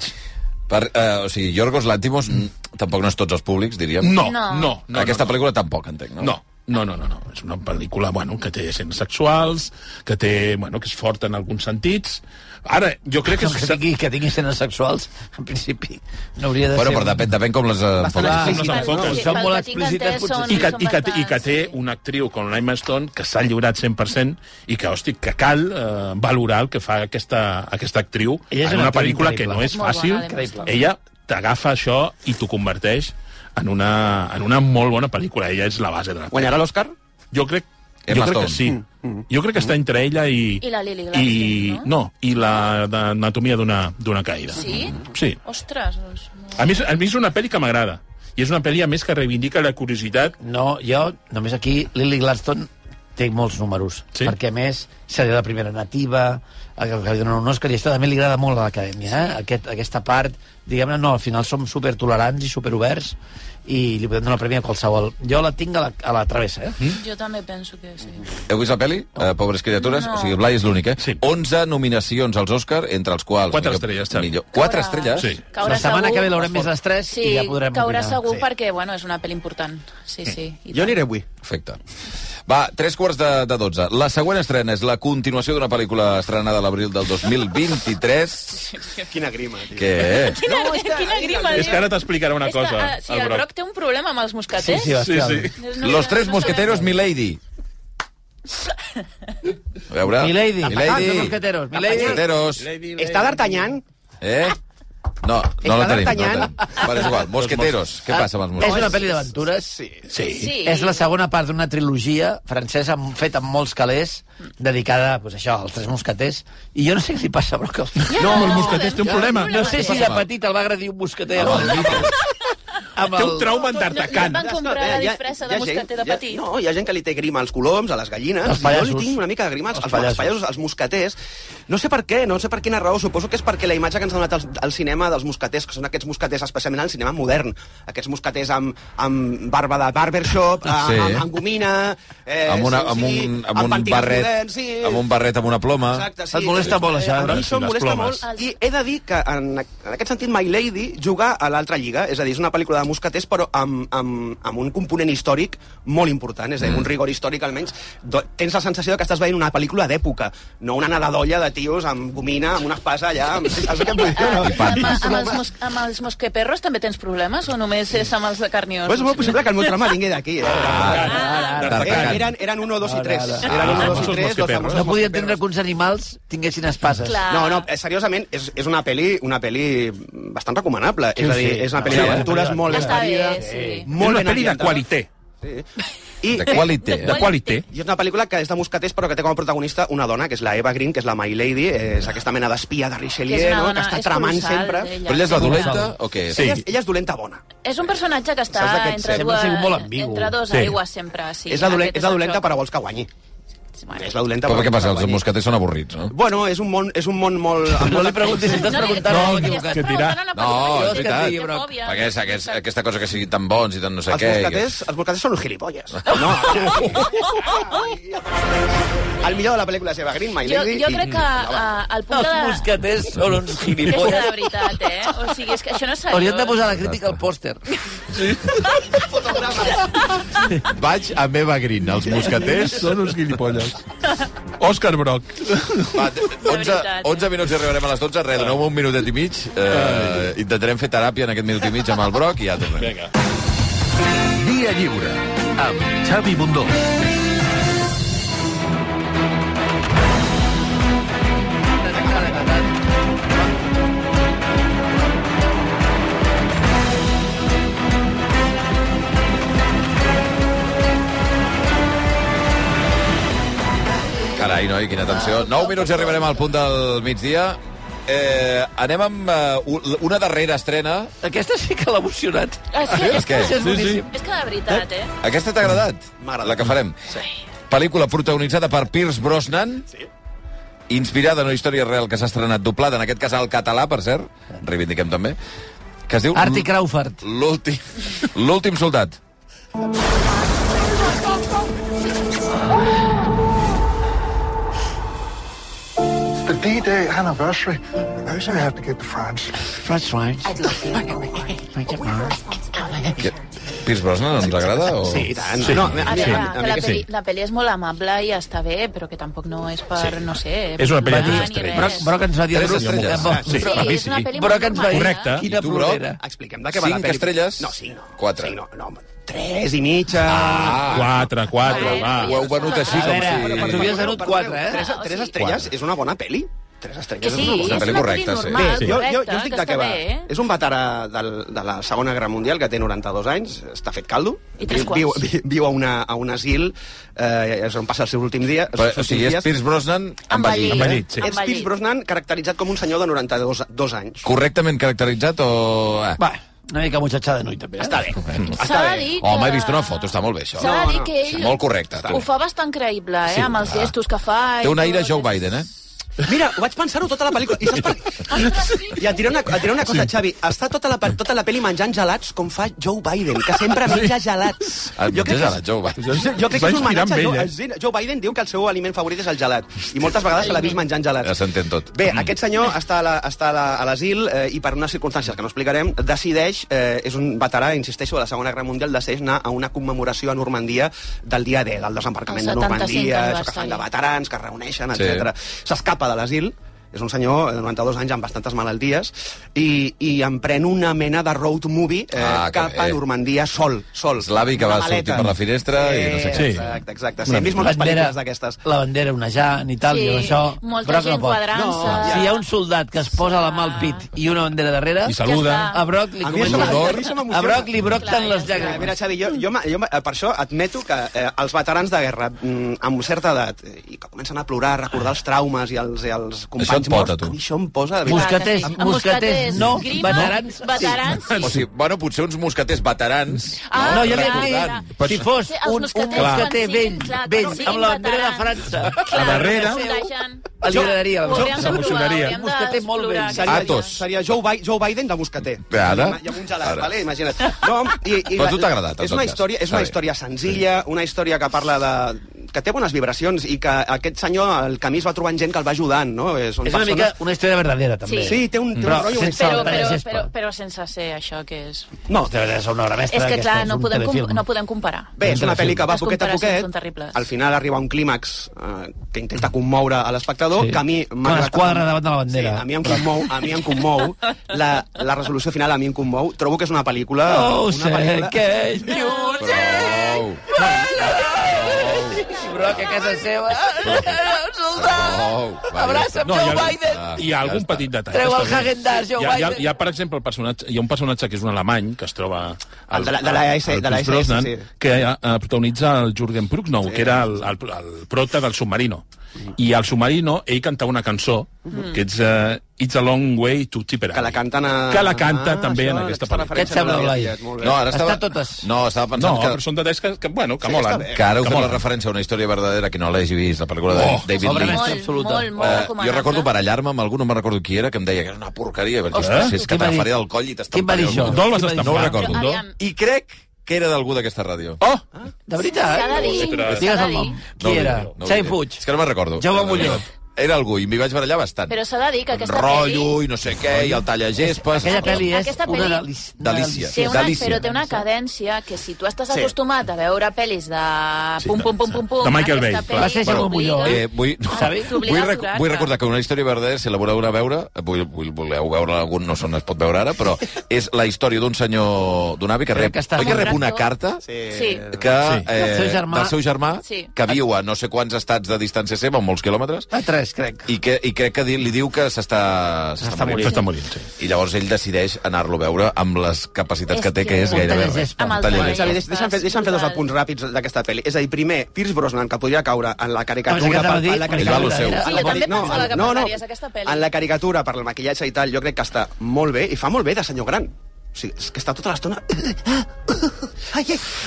Speaker 3: Per, eh, o sigui, Yorgos Lanthimos mm, tampoc no és tots els públics, diríem.
Speaker 7: No,
Speaker 6: No.
Speaker 7: no, no. no
Speaker 3: Aquesta
Speaker 7: no.
Speaker 3: pel·lícula tampoc, entenc, no?
Speaker 7: No, no, no, no, no. És una pel·lícula, bueno, que té escenes sexuals, que té, bueno, que és forta en alguns sentits. Ara, jo crec que...
Speaker 2: Que tingui, que tingui escenes sexuals, en principi, no hauria de
Speaker 3: Bueno,
Speaker 2: ser...
Speaker 3: però depèn, depèn com les... eh,
Speaker 2: Bastant
Speaker 3: enfoquis.
Speaker 2: explícites,
Speaker 7: explícit. no,
Speaker 2: no?
Speaker 7: sí,
Speaker 2: Són
Speaker 6: pel
Speaker 2: molt
Speaker 6: que tinc
Speaker 2: explícites,
Speaker 6: entès
Speaker 2: potser.
Speaker 6: són-
Speaker 7: I que, i, que,
Speaker 6: bastant,
Speaker 7: I que té
Speaker 6: sí.
Speaker 7: una actriu com l'Emma Stone que s'ha lliurat 100%, i que, hosti, que cal eh, valorar el que fa aquesta, aquesta actriu
Speaker 2: Ella és
Speaker 7: en
Speaker 2: una
Speaker 7: una
Speaker 2: actriu
Speaker 7: pel·lícula que
Speaker 2: increïble.
Speaker 7: no és
Speaker 6: Molt
Speaker 7: fàcil.
Speaker 6: bona, l'Emma Stone.
Speaker 7: Ella t'agafa això i t'ho converteix en una, en una molt bona pel·lícula. Ella és la base de la
Speaker 4: Guanyarà l'Òscar?
Speaker 7: Jo crec, jo
Speaker 3: Emma
Speaker 7: crec que
Speaker 3: Stone.
Speaker 7: sí. Jo crec que està entre ella i...
Speaker 6: I la Lily
Speaker 7: i,
Speaker 6: Gladstone, no?
Speaker 7: no? i la d'anatomia d'una d'una caïda.
Speaker 6: Sí?
Speaker 7: Sí.
Speaker 6: Ostres, doncs... no.
Speaker 7: A mi, és- a mi és una pel·li que m'agrada. I és una pel·li, a més, que reivindica la curiositat.
Speaker 2: No, jo, només aquí, Lily Gladstone té molts números,
Speaker 7: Sí?
Speaker 2: perquè a més seria la primera nativa, el que li donen un Òscar, i això també li agrada molt a l'acadèmia, eh? Aquest, aquesta part, diguem-ne, no, al final som supertolerants i superoberts, i li podem donar premi a qualsevol. Jo la tinc a la, a la travessa, eh?
Speaker 3: Mm?
Speaker 6: Jo també penso que sí.
Speaker 3: Heu vist la pel·li? No. Uh, Pobres criatures?
Speaker 6: No.
Speaker 3: No. O sigui, Blai és l'únic, eh?
Speaker 7: Sí.
Speaker 3: 11 nominacions als Òscar, entre els quals...
Speaker 7: Quatre estrelles, Xavi.
Speaker 3: 4 estrelles?
Speaker 7: Sí.
Speaker 6: Caurà
Speaker 2: la setmana
Speaker 6: segur.
Speaker 2: que ve l'haurem més a les 3
Speaker 6: Sí,
Speaker 2: i ja podrem
Speaker 6: caurà
Speaker 2: opinar.
Speaker 6: segur
Speaker 2: Sí.
Speaker 6: perquè, bueno, és una pel·li important. Sí, sí. i
Speaker 4: Jo
Speaker 6: tant.
Speaker 4: aniré avui.
Speaker 3: Perfecte. Va, tres quarts de, de 12. La següent estrena és la continuació d'una pel·lícula estrenada a l'abril del 2023,
Speaker 4: Quina grima, tio.
Speaker 3: que...
Speaker 6: Quina, quina grima, eh?
Speaker 7: És que ara t'explicarà una
Speaker 6: És que,
Speaker 7: cosa,
Speaker 6: ah, sí, el Broc té un problema amb els
Speaker 2: Sí,
Speaker 6: mosqueters.
Speaker 2: sí, bestial.
Speaker 7: Sí, sí.
Speaker 6: No,
Speaker 3: Los tres
Speaker 6: no sabem.
Speaker 3: mosqueteros, Milady. A veure...
Speaker 2: Milady.
Speaker 3: Milady.
Speaker 2: Ah, Los mosqueteros, Milady.
Speaker 3: Mosqueteros.
Speaker 4: Està d'Artanyan?
Speaker 3: Eh? No, no la tenim. No
Speaker 4: Està
Speaker 3: la
Speaker 4: d'Artagnan.
Speaker 3: tenim. Vale, és igual. Mosqueteros. Què passa amb els
Speaker 2: Ah, És una
Speaker 3: mosqueteros?
Speaker 2: pel·li d'aventures. Sí.
Speaker 7: Sí.
Speaker 6: Sí.
Speaker 2: És la segona part d'una trilogia francesa amb- feta amb molts calés, dedicada, pues, això, als tres mosqueters. I jo no sé què li passa, però... Que...
Speaker 6: Ja,
Speaker 7: No, els
Speaker 6: sabem.
Speaker 7: mosqueters té un
Speaker 6: Ja,
Speaker 7: problema.
Speaker 2: No sé si de petit el va agredir un mosqueter amb el Amb
Speaker 7: Té un trauma en
Speaker 6: No, no et
Speaker 7: D'Artacan.
Speaker 6: van
Speaker 4: eh,
Speaker 6: comprar la disfressa de mosqueter de petit.
Speaker 4: no, hi ha gent que li té grima als coloms, a les gallines.
Speaker 2: Als
Speaker 4: i
Speaker 2: pallassos.
Speaker 4: Jo li tinc una mica de grima als,
Speaker 2: Als
Speaker 4: als, als
Speaker 2: pallassos,
Speaker 4: pallassos, als mosqueters. No sé per què, no sé per quina raó. Suposo que és perquè la imatge que ens ha donat el, el cinema dels mosqueters, que són aquests mosqueters, especialment el cinema modern, aquests mosqueters amb, amb barba de barbershop,
Speaker 3: Sí.
Speaker 4: sí. amb, amb gomina... Eh,
Speaker 3: amb, una,
Speaker 4: sí,
Speaker 3: amb,
Speaker 4: sí,
Speaker 3: un, amb, un
Speaker 4: pentinats
Speaker 3: barret,
Speaker 4: moderns, sí.
Speaker 3: amb un barret amb una ploma.
Speaker 4: Exacte, sí.
Speaker 2: Et molesta molt, això,
Speaker 4: A
Speaker 2: eh?
Speaker 4: mi
Speaker 7: Sí,
Speaker 4: això em
Speaker 7: les
Speaker 4: molesta
Speaker 7: plomes.
Speaker 4: molt. I he de dir que, en, en aquest sentit, My Lady juga a l'altra lliga. És a dir, és una pel·lícula de mosqueters, però amb, amb, amb un component històric molt important. És a dir,
Speaker 2: Mm.
Speaker 4: un rigor històric, almenys. Do, tens la sensació de que estàs veient una pel·lícula d'època, no una nadadolla de tios amb gomina, amb una espasa allà... Amb... Saps què et vull dir? o
Speaker 3: I
Speaker 4: No?
Speaker 6: Amb,
Speaker 3: patis.
Speaker 6: amb, els mos, amb els mosqueperros també tens problemes o només és amb els de carniós?
Speaker 4: Pues és molt possible que el meu trama vingui d'aquí. Eh?
Speaker 2: Ah,
Speaker 4: Eren,
Speaker 3: D'Artagnan.
Speaker 4: eren, eren 1, 2 i 3.
Speaker 2: Ara,
Speaker 4: Eren 1, 2
Speaker 7: Ah,
Speaker 4: i 3, los
Speaker 7: mosqueteros.
Speaker 4: famosos
Speaker 2: No podia entendre
Speaker 4: mosqueteros.
Speaker 2: que uns animals tinguessin espases.
Speaker 6: Clar.
Speaker 4: No, no, eh, seriosament, és, és una pel·li, una peli bastant recomanable. Sí, és a dir,
Speaker 2: sí.
Speaker 4: és una pel·li
Speaker 2: Sí,
Speaker 4: d'aventures
Speaker 2: sí.
Speaker 4: molt
Speaker 6: Està
Speaker 4: estarida.
Speaker 6: bé, sí.
Speaker 7: És una pel·li de
Speaker 4: ambientada.
Speaker 7: qualité.
Speaker 4: I,
Speaker 3: De qualité.
Speaker 7: De qualité.
Speaker 4: i és una pel·lícula que és de mosqueters, però que té com a protagonista una dona, que és la Eva Green, que és la My Lady, eh, és aquesta mena d'espia de Richelieu,
Speaker 6: Que és una
Speaker 4: no?
Speaker 6: dona-
Speaker 4: que està
Speaker 6: és
Speaker 4: tramant
Speaker 6: colossal,
Speaker 4: sempre.
Speaker 6: ella.
Speaker 3: Però ella és la dolenta o què? és?
Speaker 7: Sí.
Speaker 4: Ella, és, ella és dolenta bona.
Speaker 6: És un personatge que està
Speaker 4: Saps d'aquest-
Speaker 6: entre,
Speaker 2: sempre ha
Speaker 6: dues,
Speaker 2: sigut molt ambigu.
Speaker 6: entre dos
Speaker 7: Sí.
Speaker 6: aigües sempre. Sí,
Speaker 4: és la, dolent,
Speaker 6: Aquest
Speaker 4: és la
Speaker 6: el
Speaker 4: dolenta,
Speaker 6: joc.
Speaker 4: però vols que guanyi.
Speaker 6: Bueno.
Speaker 4: És la dolenta.
Speaker 3: Però
Speaker 4: però-
Speaker 3: què passa? Els
Speaker 4: però-
Speaker 3: mosqueters són avorrits, no?
Speaker 4: Bueno, és un món, és un món molt... amb
Speaker 2: No
Speaker 4: molt
Speaker 2: li
Speaker 4: de-
Speaker 2: preguntis, estàs
Speaker 6: li-
Speaker 2: preguntant no,
Speaker 6: li
Speaker 2: equivocat.
Speaker 6: estàs
Speaker 7: que dirà.
Speaker 6: preguntant una
Speaker 3: No,
Speaker 6: persona
Speaker 3: és
Speaker 6: que
Speaker 3: veritat.
Speaker 6: té fòbia.
Speaker 3: Perquè és aquest, aquesta cosa que siguin tan bons i tan no sé
Speaker 4: els
Speaker 3: què... i que-
Speaker 4: mosqueters, els mosqueters són uns gilipolles. No, el millor de la pel·lícula seva, Green My
Speaker 6: Jo,
Speaker 4: Lady.
Speaker 6: jo
Speaker 4: i-
Speaker 6: crec que eh, el punt
Speaker 2: Els
Speaker 6: de...
Speaker 2: mosqueters són uns
Speaker 6: És que
Speaker 2: gilipolles.
Speaker 6: de veritat, eh? O sigui, és que això no és seriós.
Speaker 2: Hauríem de posar la crítica al pòster.
Speaker 9: Vaig a Meva Green, els mosqueters.
Speaker 7: Són uns guilipolles. Òscar Broc.
Speaker 3: Va, t- 11,
Speaker 6: veritat.
Speaker 3: 11 minuts i arribarem a les 12. Res, doneu-me un minutet i mig. Eh, intentarem fer teràpia en aquest minut i mig amb el Broc i ja tornem.
Speaker 7: Vinga.
Speaker 1: Via Lliure,
Speaker 2: Ah.
Speaker 1: amb Xavi Bundó.
Speaker 3: Carai, noi, quina tensió. 9 minuts i arribarem al punt del migdia. Eh, anem amb eh, u- una darrera estrena.
Speaker 2: Aquesta sí que l'ha emocionat.
Speaker 6: És que, és,
Speaker 3: Què?
Speaker 6: que,
Speaker 2: Això és
Speaker 7: Sí, sí.
Speaker 2: boníssim.
Speaker 6: és que de veritat, eh?
Speaker 3: Aquesta t'ha agradat?
Speaker 4: M'agrada.
Speaker 3: La que farem. Sí. Pel·lícula protagonitzada per Pierce Brosnan. Sí. Inspirada en una història real que s'ha estrenat doblada, en aquest cas al català, per cert. Reivindiquem també. Que es diu...
Speaker 2: Artie Crawford.
Speaker 3: L'últim... L'últim soldat.
Speaker 8: The D-Day anniversary. I also have to get to France.
Speaker 2: Fred Swines.
Speaker 3: Que... Pierce Brosnan ens agrada? O...
Speaker 4: Sí, i tant. No, a, mi- a,
Speaker 6: A
Speaker 4: mi-
Speaker 6: veure,
Speaker 4: a
Speaker 6: que
Speaker 4: mi
Speaker 6: la,
Speaker 4: que
Speaker 6: peli,
Speaker 4: sí.
Speaker 6: la peli és molt amable i està bé, però que tampoc no és per, no sé...
Speaker 7: És una peli
Speaker 6: plorar
Speaker 7: de tres
Speaker 6: ni
Speaker 7: estrelles.
Speaker 6: res.
Speaker 2: Broc, Broc ens va dir...
Speaker 3: Tres
Speaker 2: Broc,
Speaker 3: estrelles.
Speaker 2: Broc,
Speaker 6: Sí,
Speaker 7: Sí,
Speaker 6: eh?
Speaker 7: a mi
Speaker 6: és una
Speaker 7: sí.
Speaker 6: peli molt
Speaker 2: Broc ens va dir...
Speaker 7: Correcte.
Speaker 2: Quina
Speaker 3: I tu, Broc?
Speaker 2: plorera.
Speaker 4: Expliquem de què va la
Speaker 3: Cinc
Speaker 4: pel·li.
Speaker 3: estrelles?
Speaker 4: No, cinc no.
Speaker 3: Quatre.
Speaker 4: Cinc no, no, home, tres i mitja.
Speaker 3: Ah,
Speaker 7: Quatre, quatre,
Speaker 6: Bueno,
Speaker 7: va.
Speaker 3: ho heu venut així
Speaker 2: A veure,
Speaker 3: com si...
Speaker 2: ens ho havies venut quatre, eh?
Speaker 4: Tres, tres estrelles és una bona pel·li. Tres
Speaker 6: Que
Speaker 4: estrelles
Speaker 6: sí,
Speaker 4: és una
Speaker 6: és
Speaker 4: bona
Speaker 6: una
Speaker 3: peli
Speaker 6: peli
Speaker 3: correcta, sí.
Speaker 6: normal,
Speaker 7: Sí.
Speaker 4: Jo,
Speaker 6: correcta,
Speaker 4: jo, jo us dic de
Speaker 6: que
Speaker 4: què
Speaker 6: està
Speaker 4: va.
Speaker 6: bé, eh?
Speaker 4: És un veterà de, de la Segona Guerra Mundial que té 92 anys, està fet caldo.
Speaker 6: I tres
Speaker 4: viu,
Speaker 6: quarts.
Speaker 4: viu, viu a, una, a un asil, eh, és on passa el seu últim dia.
Speaker 3: Però, o
Speaker 4: els seus
Speaker 3: sigui, és
Speaker 4: últims dies.
Speaker 3: Pierce Brosnan envellit.
Speaker 6: Envellit.
Speaker 7: Envellit, sí.
Speaker 4: És Pierce Brosnan caracteritzat com un senyor de 92 dos anys.
Speaker 3: Correctament caracteritzat o... Ah.
Speaker 2: Va, una mica mutxatxada de noi, també. eh?
Speaker 4: Està bé.
Speaker 6: S'ha
Speaker 4: Està
Speaker 6: de
Speaker 4: bé.
Speaker 6: dir que...
Speaker 3: Home, he vist una foto, està molt bé, això.
Speaker 6: S'ha de
Speaker 4: No,
Speaker 6: dir
Speaker 4: no,
Speaker 6: que ell...
Speaker 3: Molt correcte. tu.
Speaker 6: Ho fa bastant creïble, eh?
Speaker 3: Sí.
Speaker 6: amb els gestos que fa... i
Speaker 3: Té un aire
Speaker 6: tot.
Speaker 3: Joe Biden, eh?
Speaker 4: Mira, ho vaig pensar-ho tota la pel·lícula. I saps per...
Speaker 6: Ostres, sí.
Speaker 4: I et diré una, et diré una cosa, sí. Xavi. Està tota la, pe- tota la pel·li menjant gelats com fa Joe Biden, que sempre menja gelats.
Speaker 3: Ah, menja
Speaker 4: que és-
Speaker 3: gelats, Joe Biden.
Speaker 4: Jo, jo crec que
Speaker 7: Va
Speaker 4: és un
Speaker 7: inspirar
Speaker 4: homenatge.
Speaker 7: en
Speaker 4: a Joe,
Speaker 7: ell, eh?
Speaker 4: sí, Joe Biden diu que el seu aliment favorit és el gelat. I moltes vegades se l'ha vist menjant gelats.
Speaker 3: Ja s'entén tot.
Speaker 4: Bé, aquest senyor està a la- està a la- a l'asil la, eh, i per unes circumstàncies que no explicarem, decideix, eh, és un veterà, insisteixo, de la Segona Guerra Mundial, decideix anar a una commemoració a Normandia del dia D, del desembarcament
Speaker 6: El
Speaker 4: de
Speaker 6: 75
Speaker 4: Normandia, això que
Speaker 6: aniversari.
Speaker 4: fan de veterans, que es reuneixen,
Speaker 3: Sí.
Speaker 4: etc. S'escapa de l'asil, és un senyor de 92 anys amb bastantes malalties i, i emprèn una mena de road movie eh,
Speaker 3: Ah, que
Speaker 4: cap a
Speaker 3: bé.
Speaker 4: Normandia sol, sol.
Speaker 3: És l'avi que
Speaker 4: Una
Speaker 3: va sortir per la finestra i no sé què.
Speaker 7: Sí.
Speaker 4: Exacte, exacte. Sí, hem vist moltes
Speaker 2: Bandera-
Speaker 4: pel·lícules d'aquestes.
Speaker 2: La bandera onejant i tal,
Speaker 6: Sí,
Speaker 2: i això...
Speaker 6: molta
Speaker 2: Broc
Speaker 6: gent
Speaker 2: no pot.
Speaker 6: quadrant-se. Ah.
Speaker 2: No, si hi ha un soldat que es posa la mà al pit i una bandera darrere...
Speaker 7: I saluda.
Speaker 6: Ja està.
Speaker 2: A Broc li
Speaker 4: A mi això
Speaker 2: comença-
Speaker 4: m'ha- a mi això m'emociona.
Speaker 2: A Broc li brocten
Speaker 6: Clar,
Speaker 2: les
Speaker 6: ja sé.
Speaker 4: Mira, mira,
Speaker 2: llàgrimes.
Speaker 4: Xavi, jo, jo, me- jo, me- eh, per això admeto que eh, els veterans de guerra mm, amb certa edat eh, i que comencen a plorar, a recordar els traumes i els, i
Speaker 3: Això
Speaker 4: els
Speaker 3: et
Speaker 4: companys
Speaker 3: pota, tu.
Speaker 4: a mi això em posa... De veritat.
Speaker 2: Mosqueters,
Speaker 6: Clar que sí.
Speaker 2: mosqueters, no,
Speaker 6: Grima,
Speaker 2: veterans, sí.
Speaker 6: veterans, sí.
Speaker 3: O sigui, bueno, potser uns mosqueters veterans.
Speaker 6: Ah,
Speaker 2: No, jo li
Speaker 6: clar,
Speaker 2: he
Speaker 6: clar.
Speaker 2: dit, si fos
Speaker 6: Sí, els
Speaker 2: un, un
Speaker 6: mosqueters
Speaker 2: mosqueter vell,
Speaker 6: quan siguin, clar,
Speaker 2: vell,
Speaker 6: quan siguin
Speaker 2: amb la bandera de
Speaker 6: veterans.
Speaker 2: França,
Speaker 6: Clar,
Speaker 7: darrere-
Speaker 6: plantejant.
Speaker 2: li agradaria.
Speaker 6: Ho hauríem de provar,
Speaker 7: S'emocionaria.
Speaker 6: hauríem de
Speaker 2: Mosqueter molt vell.
Speaker 6: explorar.
Speaker 4: Seria,
Speaker 3: Atos.
Speaker 4: Seria Joe, Bi Joe Biden de mosqueter.
Speaker 3: Ara.
Speaker 4: I amb un gelat,
Speaker 3: Ara.
Speaker 4: vale? imagina't. No, i, i
Speaker 3: Però a
Speaker 4: la-
Speaker 3: tu t'ha agradat, en
Speaker 4: És
Speaker 3: tot
Speaker 4: una
Speaker 3: cas.
Speaker 4: història, és
Speaker 3: Està
Speaker 4: una
Speaker 3: bé.
Speaker 4: història senzilla, una història que parla de que té bones vibracions i que aquest senyor al camí es va trobant gent que el va ajudant, no? Eh, Són
Speaker 2: És una mica una història verdadera, també.
Speaker 6: Sí.
Speaker 4: Sí, té un, té un
Speaker 2: Però
Speaker 4: rotllo...
Speaker 2: sense
Speaker 6: Però,
Speaker 2: Salta de
Speaker 6: però,
Speaker 2: gespa.
Speaker 6: però, però sense ser això que és...
Speaker 2: No, de veritat, és una obra mestra.
Speaker 6: És que, clar,
Speaker 2: aquesta,
Speaker 6: no
Speaker 2: un
Speaker 6: podem, com,
Speaker 2: telefilm.
Speaker 6: no podem comparar.
Speaker 4: Bé, és una pel·li que va
Speaker 6: Les
Speaker 4: poquet a
Speaker 6: comparacions són
Speaker 4: poquet,
Speaker 6: terribles.
Speaker 4: al final arriba a un clímax eh, que intenta commoure a l'espectador,
Speaker 2: Sí.
Speaker 4: que a mi...
Speaker 2: Quan
Speaker 4: m'ha
Speaker 2: es
Speaker 4: agradat-
Speaker 2: quadra davant de la bandera.
Speaker 4: Sí, a mi em commou, a mi em commou. La, la resolució final a mi em commou. Trobo que és Ah, una pel·lícula...
Speaker 2: No
Speaker 4: una
Speaker 2: Oh, sé
Speaker 4: pel·lícula...
Speaker 2: què és
Speaker 3: Prou.
Speaker 2: diumenge. Broc a casa seva. Un
Speaker 3: Prou.
Speaker 2: soldat.
Speaker 3: Va, ja
Speaker 2: Abraça'm,
Speaker 7: No, hi
Speaker 2: Joe
Speaker 7: ha,
Speaker 2: Biden.
Speaker 3: Ah,
Speaker 7: hi ha
Speaker 3: ja
Speaker 7: algun
Speaker 3: està.
Speaker 7: petit detall.
Speaker 2: Treu el
Speaker 7: Està bé.
Speaker 2: Häagen-Dazs, Joe
Speaker 7: hi ha, hi, ha,
Speaker 2: Biden.
Speaker 7: hi ha, per exemple, el personatge, hi ha un personatge que és un alemany que es troba... Al,
Speaker 4: El Ah, de la- de la SS,
Speaker 7: al
Speaker 4: de la SS,
Speaker 7: Pierce Brosnan, eh,
Speaker 4: sí.
Speaker 7: Que eh, protagonitza el Jürgen Prochnow, que era el, el, el prota del submarino. i al Submarino ell canta una cançó,
Speaker 2: Mhm.
Speaker 7: que és eh, It's a long way to Tipperary.
Speaker 4: Que la canten a...
Speaker 7: Que la canta
Speaker 4: Ah,
Speaker 7: també
Speaker 4: això,
Speaker 7: en aquesta
Speaker 4: aquesta
Speaker 7: pel·lícula.
Speaker 2: Què et sembla, Blai?
Speaker 4: Molt bé.
Speaker 3: No, ara estava...
Speaker 2: Està totes.
Speaker 3: No, estava
Speaker 7: No,
Speaker 3: pensant
Speaker 7: però
Speaker 3: que...
Speaker 7: són detalls que, que bueno, que molen.
Speaker 3: Que ara heu
Speaker 7: Que
Speaker 3: fet la
Speaker 7: molen.
Speaker 3: referència a una història verdadera que no l'hagi vist, la pel·lícula de
Speaker 7: Oh,
Speaker 3: David
Speaker 2: obra
Speaker 3: Lynch.
Speaker 2: mestra
Speaker 6: Molt,
Speaker 2: absoluta.
Speaker 6: molt, molt
Speaker 3: Eh,
Speaker 6: recomanable.
Speaker 3: jo recordo barallar-me amb algú, no me'n recordo qui era, que em deia que era una porqueria. Vaig dir, "Ostres, si és que
Speaker 2: Qui va dir-
Speaker 3: t'agafaré del coll i t'estamparé.
Speaker 2: qui va dir
Speaker 3: al
Speaker 2: això?
Speaker 3: món".
Speaker 7: D'on l'has
Speaker 2: No ho
Speaker 7: estampat?
Speaker 3: recordo.
Speaker 7: D'on?
Speaker 6: Aviam.
Speaker 3: I crec que era d'algú d'aquesta ràdio.
Speaker 7: Oh!
Speaker 2: De veritat?
Speaker 6: S'ha de dir,
Speaker 7: Ostres.
Speaker 2: Digues
Speaker 6: s'ha de
Speaker 2: el nom.
Speaker 6: dir.
Speaker 3: No ho
Speaker 2: Qui era?
Speaker 3: diré, no ho
Speaker 2: Xai
Speaker 3: diré.
Speaker 2: Puig.
Speaker 3: És que no me'n recordo.
Speaker 2: Jaume
Speaker 3: No, no, no.
Speaker 2: Muñoz.
Speaker 3: Era algú, i m'hi vaig barallar bastant.
Speaker 6: Però s'ha de dir que aquesta
Speaker 3: Rotllo i no sé què, i el tallagespa...
Speaker 2: Aquella eh? pel·li és
Speaker 6: Aquesta
Speaker 2: una
Speaker 6: pel·li-
Speaker 2: deli- una
Speaker 3: Delícia.
Speaker 6: Té una,
Speaker 3: Delícia.
Speaker 6: però té una cadència que si tu estàs
Speaker 4: Sí.
Speaker 6: acostumat a veure pel·lis de
Speaker 7: Sí,
Speaker 6: pum,
Speaker 7: de-
Speaker 6: pum, pum, pum, pum...
Speaker 7: de Michael Bay,
Speaker 6: aquesta
Speaker 7: clar.
Speaker 6: pel·li
Speaker 2: Va ser Jaume
Speaker 6: t'obliga-
Speaker 2: Muñoz.
Speaker 3: Eh, vull, no,
Speaker 6: Sabe?
Speaker 3: vull,
Speaker 6: Ah, T'obliga a
Speaker 3: rec
Speaker 6: aturar-te.
Speaker 3: vull recordar que una història verdadera, si la voleu anar a veure, eh, vull, vull, voleu veure algun, no sé on es pot veure ara, però és la història d'un senyor, d'un avi que rep,
Speaker 2: que està
Speaker 3: oi que rep
Speaker 6: amb un
Speaker 3: una
Speaker 6: tractor?
Speaker 3: carta
Speaker 4: Sí.
Speaker 6: Sí.
Speaker 3: que,
Speaker 7: Sí.
Speaker 3: eh,
Speaker 2: Del seu germà.
Speaker 3: del seu germà
Speaker 6: Sí.
Speaker 3: que viu a no sé quants estats de distància seva, amb molts quilòmetres,
Speaker 2: A tres, crec.
Speaker 3: i, que, i crec que di- li diu que s'està s'està morint.
Speaker 7: S'està morint, sí.
Speaker 3: I llavors ell decideix anar-lo a veure amb les capacitats
Speaker 6: És
Speaker 3: que té, que
Speaker 6: que-
Speaker 3: és
Speaker 2: Un
Speaker 3: gairebé res.
Speaker 2: tallagespa.
Speaker 6: Amb el
Speaker 3: Un
Speaker 4: Bueno,
Speaker 3: tallagespa.
Speaker 6: tallagespa.
Speaker 4: Xavi, deix- deixa'm fer, deixa'm fer dos apunts ràpids d'aquesta pel·li. És a dir, primer, Pierce Brosnan, que podria caure en la
Speaker 2: Home, és que
Speaker 4: caricatura...
Speaker 2: t'anava a dir-
Speaker 4: en la
Speaker 3: Ell va lo
Speaker 4: caricatura,
Speaker 3: seu.
Speaker 4: en la
Speaker 6: Jo també
Speaker 4: cari- no,
Speaker 6: pensava que
Speaker 4: no, no,
Speaker 6: parlaries d'aquesta pel·li.
Speaker 4: en la caricatura, per el maquillatge i tal, jo crec que està molt bé, i fa molt bé de senyor gran. O sigui, és que està tota l'estona... Ai, ai,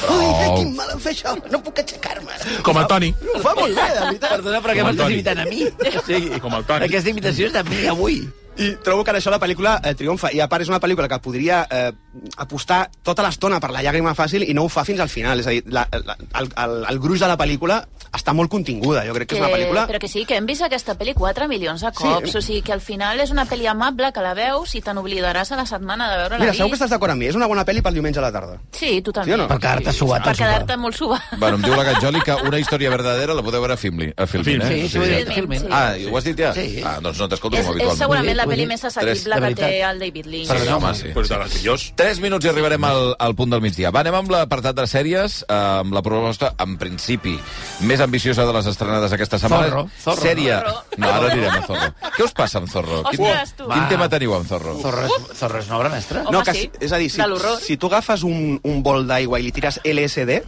Speaker 4: ai, ai,
Speaker 3: Prou.
Speaker 4: quin mal em fa això, no puc aixecar-me.
Speaker 7: Com el Toni.
Speaker 4: Ho fa molt bé, de veritat.
Speaker 2: Perdona, però què
Speaker 7: Com el
Speaker 2: m'estàs
Speaker 7: Toni.
Speaker 2: imitant a mi? O sigui,
Speaker 7: Com el Toni.
Speaker 2: Aquesta imitació és de mi, avui.
Speaker 4: I trobo que en això la pel·lícula eh, triomfa. I a part és una pel·lícula que podria eh, apostar tota l'estona per la llàgrima fàcil i no ho fa fins al final. És a dir, la, la, el, el, el gruix de la pel·lícula està molt continguda. Jo crec que és una pel·lícula...
Speaker 6: Però que sí, que hem vist aquesta pel·li 4 milions de cops.
Speaker 4: Sí. eh,
Speaker 6: O sigui, que al final és una pel·li amable que la veus i te n'oblidaràs a la setmana de veure-la
Speaker 4: Mira,
Speaker 6: vist.
Speaker 4: segur que estàs d'acord amb mi. És una bona pel·li pel diumenge a la tarda.
Speaker 6: Sí, totalment.
Speaker 4: Sí o no?
Speaker 2: Per quedar-te suat.
Speaker 6: Per
Speaker 2: al sofà.
Speaker 6: quedar-te molt subat.
Speaker 3: Bueno, em diu la Gajoli que una història verdadera la podeu veure a Filmin, a Filmin eh?
Speaker 7: Filmin,
Speaker 2: Sí, sí, ho he dit,
Speaker 6: Sí.
Speaker 2: firment.
Speaker 3: Ah, ho has dit ja?
Speaker 2: Sí.
Speaker 3: Ah, doncs no t'escolto
Speaker 6: És,
Speaker 3: com
Speaker 6: és
Speaker 3: habitualment.
Speaker 6: segurament la
Speaker 2: Vull
Speaker 6: pel·li
Speaker 2: dir-
Speaker 6: més
Speaker 3: Tres,
Speaker 6: assequible
Speaker 2: de
Speaker 6: que té
Speaker 2: veritat.
Speaker 6: el David Lynch.
Speaker 3: Sí,
Speaker 2: Perdona,
Speaker 3: home,
Speaker 2: home.
Speaker 3: sí.
Speaker 7: Pues de les millors.
Speaker 3: Tres minuts i arribarem al, al punt del migdia. Va, anem amb l'apartat de sèries, eh, amb la proposta, en principi, més ambiciosa de les estrenades aquesta setmana.
Speaker 2: Zorro, Zorro.
Speaker 3: Sèrie...
Speaker 6: Zorro.
Speaker 3: No, ara anirem a Zorro. Què us passa amb Zorro?
Speaker 6: Ostres, tu.
Speaker 3: quin, quin
Speaker 2: Va.
Speaker 3: tema teniu amb Zorro?
Speaker 2: Zorro és, Zorro Ah, és una obra mestra.
Speaker 6: Home,
Speaker 4: no, que,
Speaker 6: sí.
Speaker 4: si- És a dir, si,
Speaker 6: De l'horror.
Speaker 4: si tu agafes un, un bol d'aigua i li tires LSD,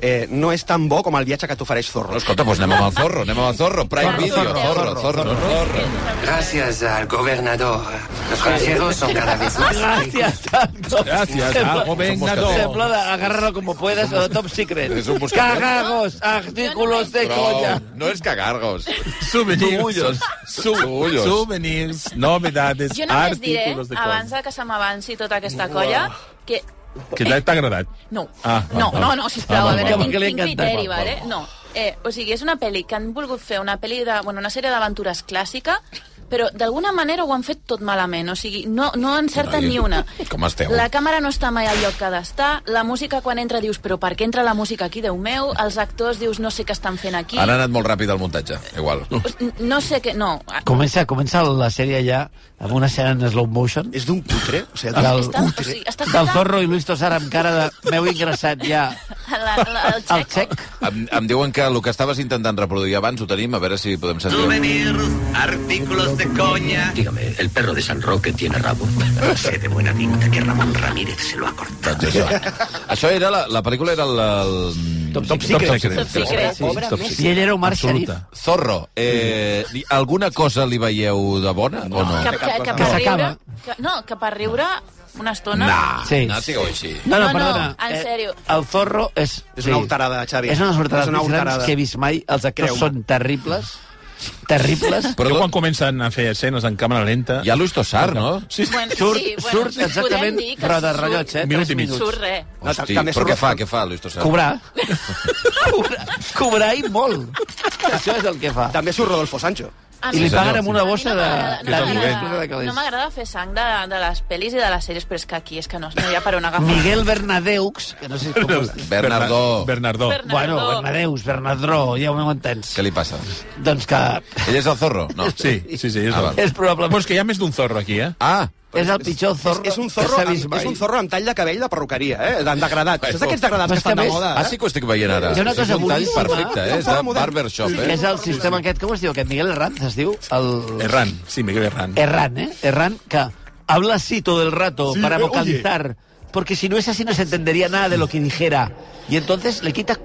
Speaker 4: eh, no és tan bo com el viatge que t'ofereix
Speaker 3: No,
Speaker 4: Zorro.
Speaker 3: escolta, doncs anem amb el Zorro, anem amb el Zorro. Prime
Speaker 6: Zorro,
Speaker 3: Video,
Speaker 6: Zorro,
Speaker 3: Zorro, Zorro, Zorro. Zorro.
Speaker 10: Gracias al gobernador, los francesos son cada vez más
Speaker 2: Gràcies, Tanco.
Speaker 7: Gràcies,
Speaker 2: Sembla-
Speaker 7: ah, gobernador.
Speaker 2: Sembla d'agarrar-lo com puedes o de Top Secret.
Speaker 3: És un buscador.
Speaker 2: Cagagos, artículos de colla.
Speaker 3: Prou, no és cagargos.
Speaker 7: Souvenirs.
Speaker 3: Turullos.
Speaker 7: Su-
Speaker 3: Turullos.
Speaker 7: Souvenirs. Novedades.
Speaker 6: Jo només diré,
Speaker 7: artículos de
Speaker 6: abans
Speaker 7: coses.
Speaker 6: de que se m'avanci tota aquesta colla, que
Speaker 7: Que ja t'ha agradat.
Speaker 6: No,
Speaker 7: Ah,
Speaker 6: ah,
Speaker 7: va,
Speaker 6: no,
Speaker 7: va.
Speaker 6: no, no, sisplau,
Speaker 7: Ah,
Speaker 6: a
Speaker 7: va,
Speaker 6: veure,
Speaker 7: va, va.
Speaker 6: tinc,
Speaker 2: Que li
Speaker 6: tinc
Speaker 2: encanta.
Speaker 6: criteri,
Speaker 2: Va, va,
Speaker 6: vale? No, eh, o sigui, és una pel·li que han volgut fer una pel·li de, bueno, una sèrie d'aventures clàssica, però d'alguna manera ho han fet tot malament, o sigui, no, no encerten
Speaker 3: Noi,
Speaker 6: ni una.
Speaker 3: com esteu?
Speaker 6: La càmera no està mai al lloc que ha d'estar, la música quan entra dius, però per què entra la música aquí, Déu meu? Els actors dius, no sé què estan fent aquí.
Speaker 3: Han anat molt ràpid al muntatge, igual.
Speaker 6: N- No sé què, no.
Speaker 2: Comença, comença la sèrie ja amb una escena en slow motion.
Speaker 4: És d'un cutre. O sigui,
Speaker 2: Del,
Speaker 6: Està- o sigui, està
Speaker 2: del
Speaker 6: feta-
Speaker 2: Zorro i Luis Tosar amb cara de m'heu ingressat ja
Speaker 6: La, la, el
Speaker 2: al
Speaker 6: xec.
Speaker 2: xec.
Speaker 3: Em, em diuen que el que estaves intentant reproduir abans ho tenim, a veure si podem sentir.
Speaker 10: artículos de coña. Dígame, ¿el perro de San Roque tiene rabo? sé de buena tinta que Ramón Ramírez se lo ha cortado.
Speaker 3: Doncs això. això era la, la pel·lícula era el... el...
Speaker 2: Top Secret.
Speaker 6: Top Secret.
Speaker 7: Obra
Speaker 2: Top I ell era Omar Sharif.
Speaker 7: Absoluta.
Speaker 3: Zorro, eh,
Speaker 2: Mm.
Speaker 3: i alguna cosa li veieu de bona o no?
Speaker 6: Que, que, que,
Speaker 2: Que
Speaker 6: per riure...
Speaker 2: s'acaba.
Speaker 6: Que, no, que per riure una estona...
Speaker 3: Nah,
Speaker 2: Sí.
Speaker 3: no sigueu així.
Speaker 2: No, no,
Speaker 6: No, no,
Speaker 2: perdona.
Speaker 6: en
Speaker 2: Eh,
Speaker 6: sèrio.
Speaker 2: El Zorro és...
Speaker 4: És una autarada, Xavi.
Speaker 2: És una autarada
Speaker 4: És
Speaker 2: dels
Speaker 4: una
Speaker 2: més grans
Speaker 4: autarada.
Speaker 2: que he vist mai. Els actors
Speaker 4: Creu-me.
Speaker 2: són terribles. Terribles.
Speaker 7: Però
Speaker 3: Però
Speaker 7: quan comencen a fer escenes en càmera lenta...
Speaker 3: hi ha Luis Tosar, no?
Speaker 7: Sí, sí.
Speaker 6: Bueno,
Speaker 2: Surt,
Speaker 6: sí, bueno,
Speaker 2: surt exactament
Speaker 6: podem dir que
Speaker 2: roda
Speaker 6: surt-
Speaker 2: rellotge, eh?
Speaker 7: Minut i
Speaker 2: tres
Speaker 7: mig.
Speaker 6: Surt res.
Speaker 4: No,
Speaker 3: Hosti,
Speaker 4: també
Speaker 3: però
Speaker 4: surt-
Speaker 3: què fa, què fa, Luis Tosar?
Speaker 2: Cobrar. cobrar. Cobrar i molt. Això és el que fa.
Speaker 4: També surt Rodolfo Sancho.
Speaker 6: A
Speaker 2: I
Speaker 6: mi-
Speaker 2: li
Speaker 3: Sí, senyor.
Speaker 2: paguen amb una bossa de...
Speaker 6: A mi
Speaker 2: de
Speaker 6: Ah, no m'agrada-
Speaker 2: diners,
Speaker 6: no
Speaker 2: plena de
Speaker 6: m'agrada
Speaker 2: calés.
Speaker 6: no m'agrada fer sang de, de les pel·lis i de les sèries, però és que aquí és que no, no hi ha per on agafar.
Speaker 2: Miguel Bernadeux, que no sé com es diu.
Speaker 3: Bernardó.
Speaker 6: Bernardó.
Speaker 7: Bernardó.
Speaker 2: Bueno, Bernadeus, Bernadró, ja ho m'entens.
Speaker 3: Què li passa?
Speaker 2: Doncs que
Speaker 3: Ell és el Zorro? No.
Speaker 7: Sí, sí, sí, és
Speaker 3: Ah,
Speaker 7: ah,
Speaker 3: val.
Speaker 2: és probablement...
Speaker 7: Pues que hi ha més d'un zorro aquí, eh?
Speaker 3: Ah,
Speaker 2: és el pitjor
Speaker 4: És,
Speaker 2: zorro
Speaker 4: és, un zorro
Speaker 2: que s'ha vist
Speaker 4: amb,
Speaker 2: mai.
Speaker 4: és un zorro amb tall de cabell de perruqueria, eh? D'en degradat.
Speaker 3: Bueno.
Speaker 4: Saps aquests degradats
Speaker 2: Però
Speaker 4: que
Speaker 2: és que
Speaker 4: estan de
Speaker 2: a més-
Speaker 4: moda?
Speaker 3: ah, sí que ho estic veient ara.
Speaker 2: Hi ha una cosa
Speaker 3: és un tall
Speaker 2: boníssima.
Speaker 3: perfecte, eh? És de barbershop,
Speaker 2: Que
Speaker 3: eh?
Speaker 2: és el sistema aquest, com es diu aquest? Miguel Herranz es diu? El...
Speaker 7: Erran, sí, Miguel Erran.
Speaker 2: Herran, ¿eh? Herran, que habla así todo el rato
Speaker 7: Sí,
Speaker 2: para
Speaker 7: oye.
Speaker 2: vocalizar. Porque si no es así no se entendería nada de lo que dijera. Y entonces le quita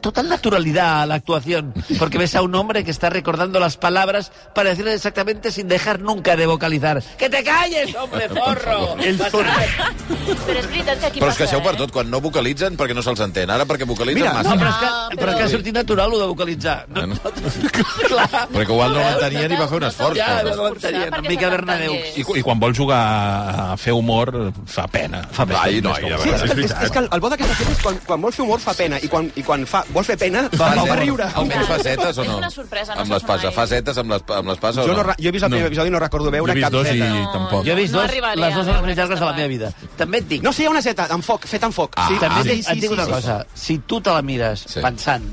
Speaker 2: total naturalidad a la actuación, porque ves a un hombre que está recordando las palabras para decirlas exactamente sin dejar nunca de vocalizar. ¡Que te calles, hombre, zorro!
Speaker 3: El zorro.
Speaker 6: Però és veritat que aquí
Speaker 3: Però es
Speaker 6: passa,
Speaker 3: queixeu per
Speaker 6: eh?
Speaker 3: tot, quan no vocalitzen perquè no se'ls entén. Ara perquè vocalitzen
Speaker 4: Mira,
Speaker 3: massa.
Speaker 2: No, però és que,
Speaker 6: Ah,
Speaker 2: però és que
Speaker 6: però-
Speaker 2: ha sortit natural, ho de vocalitzar. No,
Speaker 3: Bueno.
Speaker 2: clar.
Speaker 3: Perquè igual no
Speaker 6: Veus?
Speaker 3: l'entenien i va fer un
Speaker 6: No
Speaker 3: esforç.
Speaker 2: Ja,
Speaker 3: però-
Speaker 2: no
Speaker 6: esforçar
Speaker 2: l'entenien.
Speaker 6: perquè
Speaker 2: Miquel
Speaker 6: se
Speaker 2: Bernabéu.
Speaker 6: t'entengués.
Speaker 7: I, cu- I quan vols jugar a fer humor, fa pena. Fa
Speaker 3: pena. Ai, noia, a
Speaker 4: Sí,
Speaker 3: veure.
Speaker 4: és, que, és, és que el, el bo d'aquesta sèrie és quan, quan vol fer humor fa pena i quan, i quan fa, vol fer pena fa, fa
Speaker 3: Fasetes.
Speaker 4: riure.
Speaker 3: Almenys
Speaker 6: Clar.
Speaker 3: facetes o
Speaker 6: És
Speaker 3: no?
Speaker 6: una sorpresa, no
Speaker 3: Amb
Speaker 6: se'ls
Speaker 3: l'espasa.
Speaker 6: mai.
Speaker 3: Facetes amb les- amb l'espasa o
Speaker 4: Jo,
Speaker 3: no?
Speaker 4: no, re- jo he vist el primer episodi i no recordo
Speaker 7: Jo he
Speaker 4: veure
Speaker 7: vist
Speaker 4: cap
Speaker 7: dos i
Speaker 4: feta.
Speaker 7: tampoc.
Speaker 2: Jo he vist
Speaker 6: No
Speaker 2: dos,
Speaker 6: arribaré
Speaker 2: les dues
Speaker 6: a
Speaker 2: horas
Speaker 6: veure
Speaker 2: més llargues de la meva
Speaker 6: aquesta
Speaker 2: vida. També et dic,
Speaker 4: No, sí, hi ha una seta, amb foc, fet amb foc. Ah, sí,
Speaker 2: també
Speaker 4: sí,
Speaker 2: et, et dic una cosa. Si tu te la mires
Speaker 3: Sí. Mm. Mm-hmm.
Speaker 2: pensant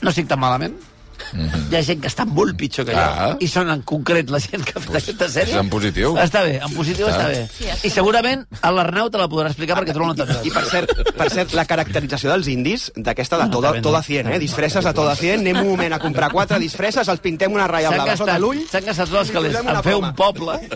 Speaker 2: no estic tan malament, hi ha gent que està molt pitjor que jo.
Speaker 3: Ah.
Speaker 2: I són en concret la gent que ha fet aquesta sèrie.
Speaker 3: és en positiu. Ah.
Speaker 2: Està bé, en positiu està, bé.
Speaker 6: Sí, està
Speaker 2: I segurament a l'Arnau te la podrà explicar perquè tu no l'entendràs.
Speaker 4: Ah, I per cert, per cert, la caracterització dels indis, d'aquesta de toda,
Speaker 2: Ah, també no.
Speaker 4: toda 100, eh? Disfresses de toda 100, anem un moment a comprar quatre disfresses, els pintem una ratlla
Speaker 2: S'han
Speaker 4: blava sota
Speaker 2: gastat,
Speaker 4: l'ull.
Speaker 2: s'han gastat tots els calés
Speaker 4: Posem una
Speaker 2: en fer
Speaker 4: broma.
Speaker 2: un poble.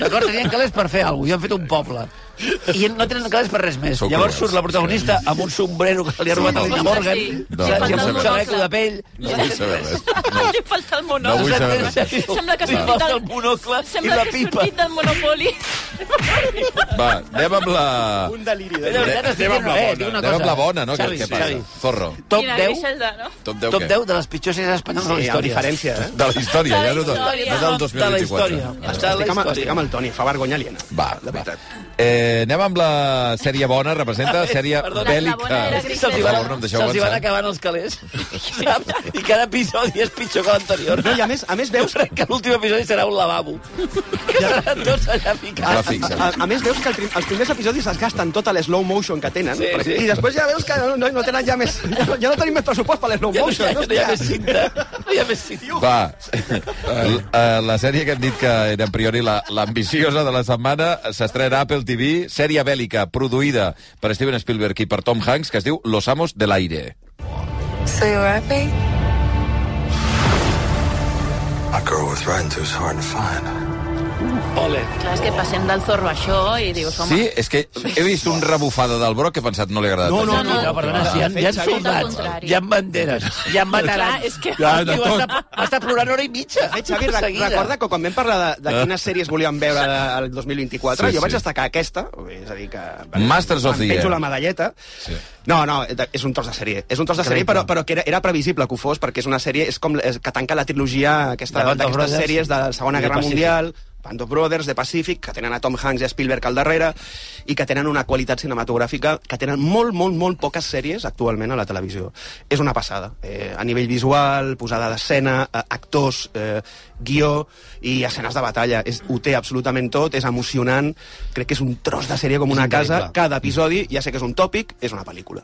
Speaker 2: D'acord? Tenien calés per fer alguna cosa. Jo han fet un poble. I no tenen calés per res més.
Speaker 3: Sou
Speaker 2: Llavors
Speaker 3: cruels.
Speaker 2: surt la protagonista amb un sombrero que li ha robat
Speaker 6: Sí,
Speaker 2: a
Speaker 6: sí,
Speaker 2: Lina Morgan,
Speaker 6: sí.
Speaker 3: No, no
Speaker 2: i
Speaker 3: vull
Speaker 2: un
Speaker 3: saber.
Speaker 2: xaleco de pell.
Speaker 3: No vull saber res.
Speaker 6: Li falta el
Speaker 3: No vull
Speaker 6: monocle.
Speaker 3: saber
Speaker 2: S'entén,
Speaker 3: res.
Speaker 2: senyor.
Speaker 6: Sembla que ha
Speaker 2: Li
Speaker 6: sortit
Speaker 2: falta
Speaker 6: del-
Speaker 2: el monocle i
Speaker 6: Sembla
Speaker 2: la
Speaker 6: que he
Speaker 2: pipa.
Speaker 6: sortit del Monopoli.
Speaker 3: Va, anem amb la...
Speaker 4: Un
Speaker 2: De
Speaker 4: deliri.
Speaker 2: veritat, estic dient, eh, dic una
Speaker 3: Anem amb
Speaker 2: cosa.
Speaker 3: la bona, no? Què,
Speaker 2: Xavi,
Speaker 3: què passa?
Speaker 2: Xavi,
Speaker 3: Zorro.
Speaker 2: Top
Speaker 6: Quina
Speaker 2: 10,
Speaker 6: greixelda, no?
Speaker 3: Top 10
Speaker 2: top
Speaker 3: què?
Speaker 2: 10 de les pitjors sèries espanyoles de la
Speaker 4: Sí, amb
Speaker 2: història.
Speaker 4: diferència, eh?
Speaker 3: De la història, ja no
Speaker 6: De
Speaker 3: de,
Speaker 6: la història.
Speaker 3: no del
Speaker 2: De la història.
Speaker 3: 2024.
Speaker 2: Està a la
Speaker 4: Estic amb, estic
Speaker 2: història.
Speaker 4: amb el Toni, fa vergonya aliena.
Speaker 3: Va, va.
Speaker 4: de veritat.
Speaker 3: Eh, anem amb la sèrie bona, representa sèrie
Speaker 2: Perdona,
Speaker 6: la bona era
Speaker 3: bèl·lica.
Speaker 6: gris.
Speaker 2: Se'ls hi
Speaker 3: Per
Speaker 2: van,
Speaker 3: favor, no em deixeu
Speaker 2: se'ls hi van
Speaker 3: avançar.
Speaker 2: acabant els calés. saps? I cada episodi és pitjor que l'anterior.
Speaker 4: No, i a més, a més
Speaker 2: Jo
Speaker 4: veus
Speaker 2: crec que l'últim episodi serà un lavabo. Que seran tots allà
Speaker 3: La
Speaker 2: ficats.
Speaker 3: fixa.
Speaker 4: A, a més, veus que el prim, els primers episodis es gasten tota l'slow motion que tenen
Speaker 2: Sí,
Speaker 4: perquè-
Speaker 2: sí.
Speaker 4: i després ja veus que no, no, no tenen ja més... Ja no, ja no tenim més pressupost per l'slow
Speaker 2: Ja no,
Speaker 4: motion.
Speaker 2: ja, no hi ha
Speaker 4: hòstia.
Speaker 2: més cinta. No hi ha més cinta.
Speaker 3: Va, L- eh, la sèrie que hem dit que era en priori la- l'ambiciosa de la setmana s'estrena a Apple TV, sèrie bèl·lica produïda per Steven Spielberg i per Tom Hanks, que es diu Los Amos del Aire.
Speaker 5: So you're happy?
Speaker 8: My girl was riding too is hard to find.
Speaker 2: Ole.
Speaker 6: Clar, és que passem del zorro a això i dius, home...
Speaker 3: Sí, és que he vist un rebufada del broc que he pensat no li ha agradat.
Speaker 4: No,
Speaker 2: No,
Speaker 3: tant.
Speaker 2: no, no, perdona, si hi ha, hi ha
Speaker 4: Fet,
Speaker 2: soldats,
Speaker 6: Xavi.
Speaker 2: hi ha banderes, hi ha veterans.
Speaker 6: Clar, és que-
Speaker 2: Ja, de
Speaker 7: Hòstia,
Speaker 2: tot.
Speaker 7: va
Speaker 2: Va
Speaker 7: estar-
Speaker 2: estar plorant hora i mitja.
Speaker 4: Eh, Xavi, re
Speaker 2: Seguida.
Speaker 4: recorda que quan vam parlar de, de quines sèries volíem veure de, el 2024,
Speaker 3: Eh? Sí,
Speaker 4: sí, jo vaig
Speaker 3: sí.
Speaker 4: destacar aquesta, és a dir que...
Speaker 3: Masters of
Speaker 4: em
Speaker 3: the
Speaker 4: Penjo
Speaker 3: Air.
Speaker 4: la medalleta.
Speaker 3: Sí.
Speaker 4: Sí. No, no, de- és un tros de sèrie. És un tros de sèrie, però, però que era, era previsible que ho fos, perquè és una sèrie és com, és, que tanca la trilogia aquesta-
Speaker 2: De Band of
Speaker 4: d'aquestes
Speaker 2: Brothers.
Speaker 4: sèries de la Segona
Speaker 2: I de
Speaker 4: Guerra
Speaker 2: Pacific.
Speaker 4: Mundial, Band of Brothers, de Pacific, que tenen a Tom Hanks i a Spielberg al darrere, i que tenen una qualitat cinematogràfica que tenen molt, molt, molt poques sèries actualment a la televisió. És una passada. Eh, a nivell visual, posada d'escena, eh, actors, eh, guió i escenes de batalla. És, ho té absolutament tot, és emocionant, crec que és Mm. un tros de sèrie com una casa. Cada episodi, ja sé que és un tòpic, és una pel·lícula.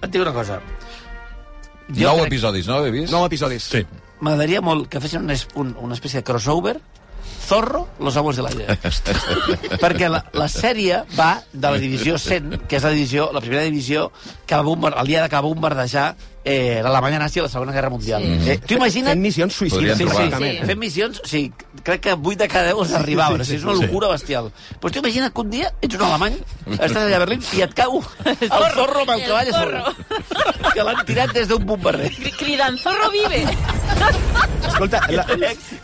Speaker 2: Et dic una cosa. Jo
Speaker 3: Nou
Speaker 2: crec-
Speaker 3: episodis, no, he vist?
Speaker 4: Nou episodis.
Speaker 7: Sí.
Speaker 2: M'agradaria molt que fessin una, es- un, una espècie de crossover Zorro, los amos de l'aire. Perquè la, la sèrie va de la divisió 100, que és la divisió, la primera divisió que va bombar, el dia que va bombardejar eh, l'Alemanya nazi a la Segona Guerra Mundial.
Speaker 6: Sí.
Speaker 2: Eh, tu imagina't...
Speaker 4: Fent missions
Speaker 3: Podríem
Speaker 4: suïcides,
Speaker 2: Sí, sí,
Speaker 4: bàsicament.
Speaker 2: sí. Fent missions, sí, crec que 8 de cada 10 els arribava. Sí, sí, sí, és una locura bestial. Però tu imagina't que un dia ets un alemany, estàs allà a Berlín i et cau el zorro amb el
Speaker 6: El
Speaker 2: cavall a
Speaker 6: zorro.
Speaker 2: sobre. Que l'han tirat des d'un bombarder.
Speaker 6: Cri- Cridant, zorro vive!
Speaker 4: Escolta, la,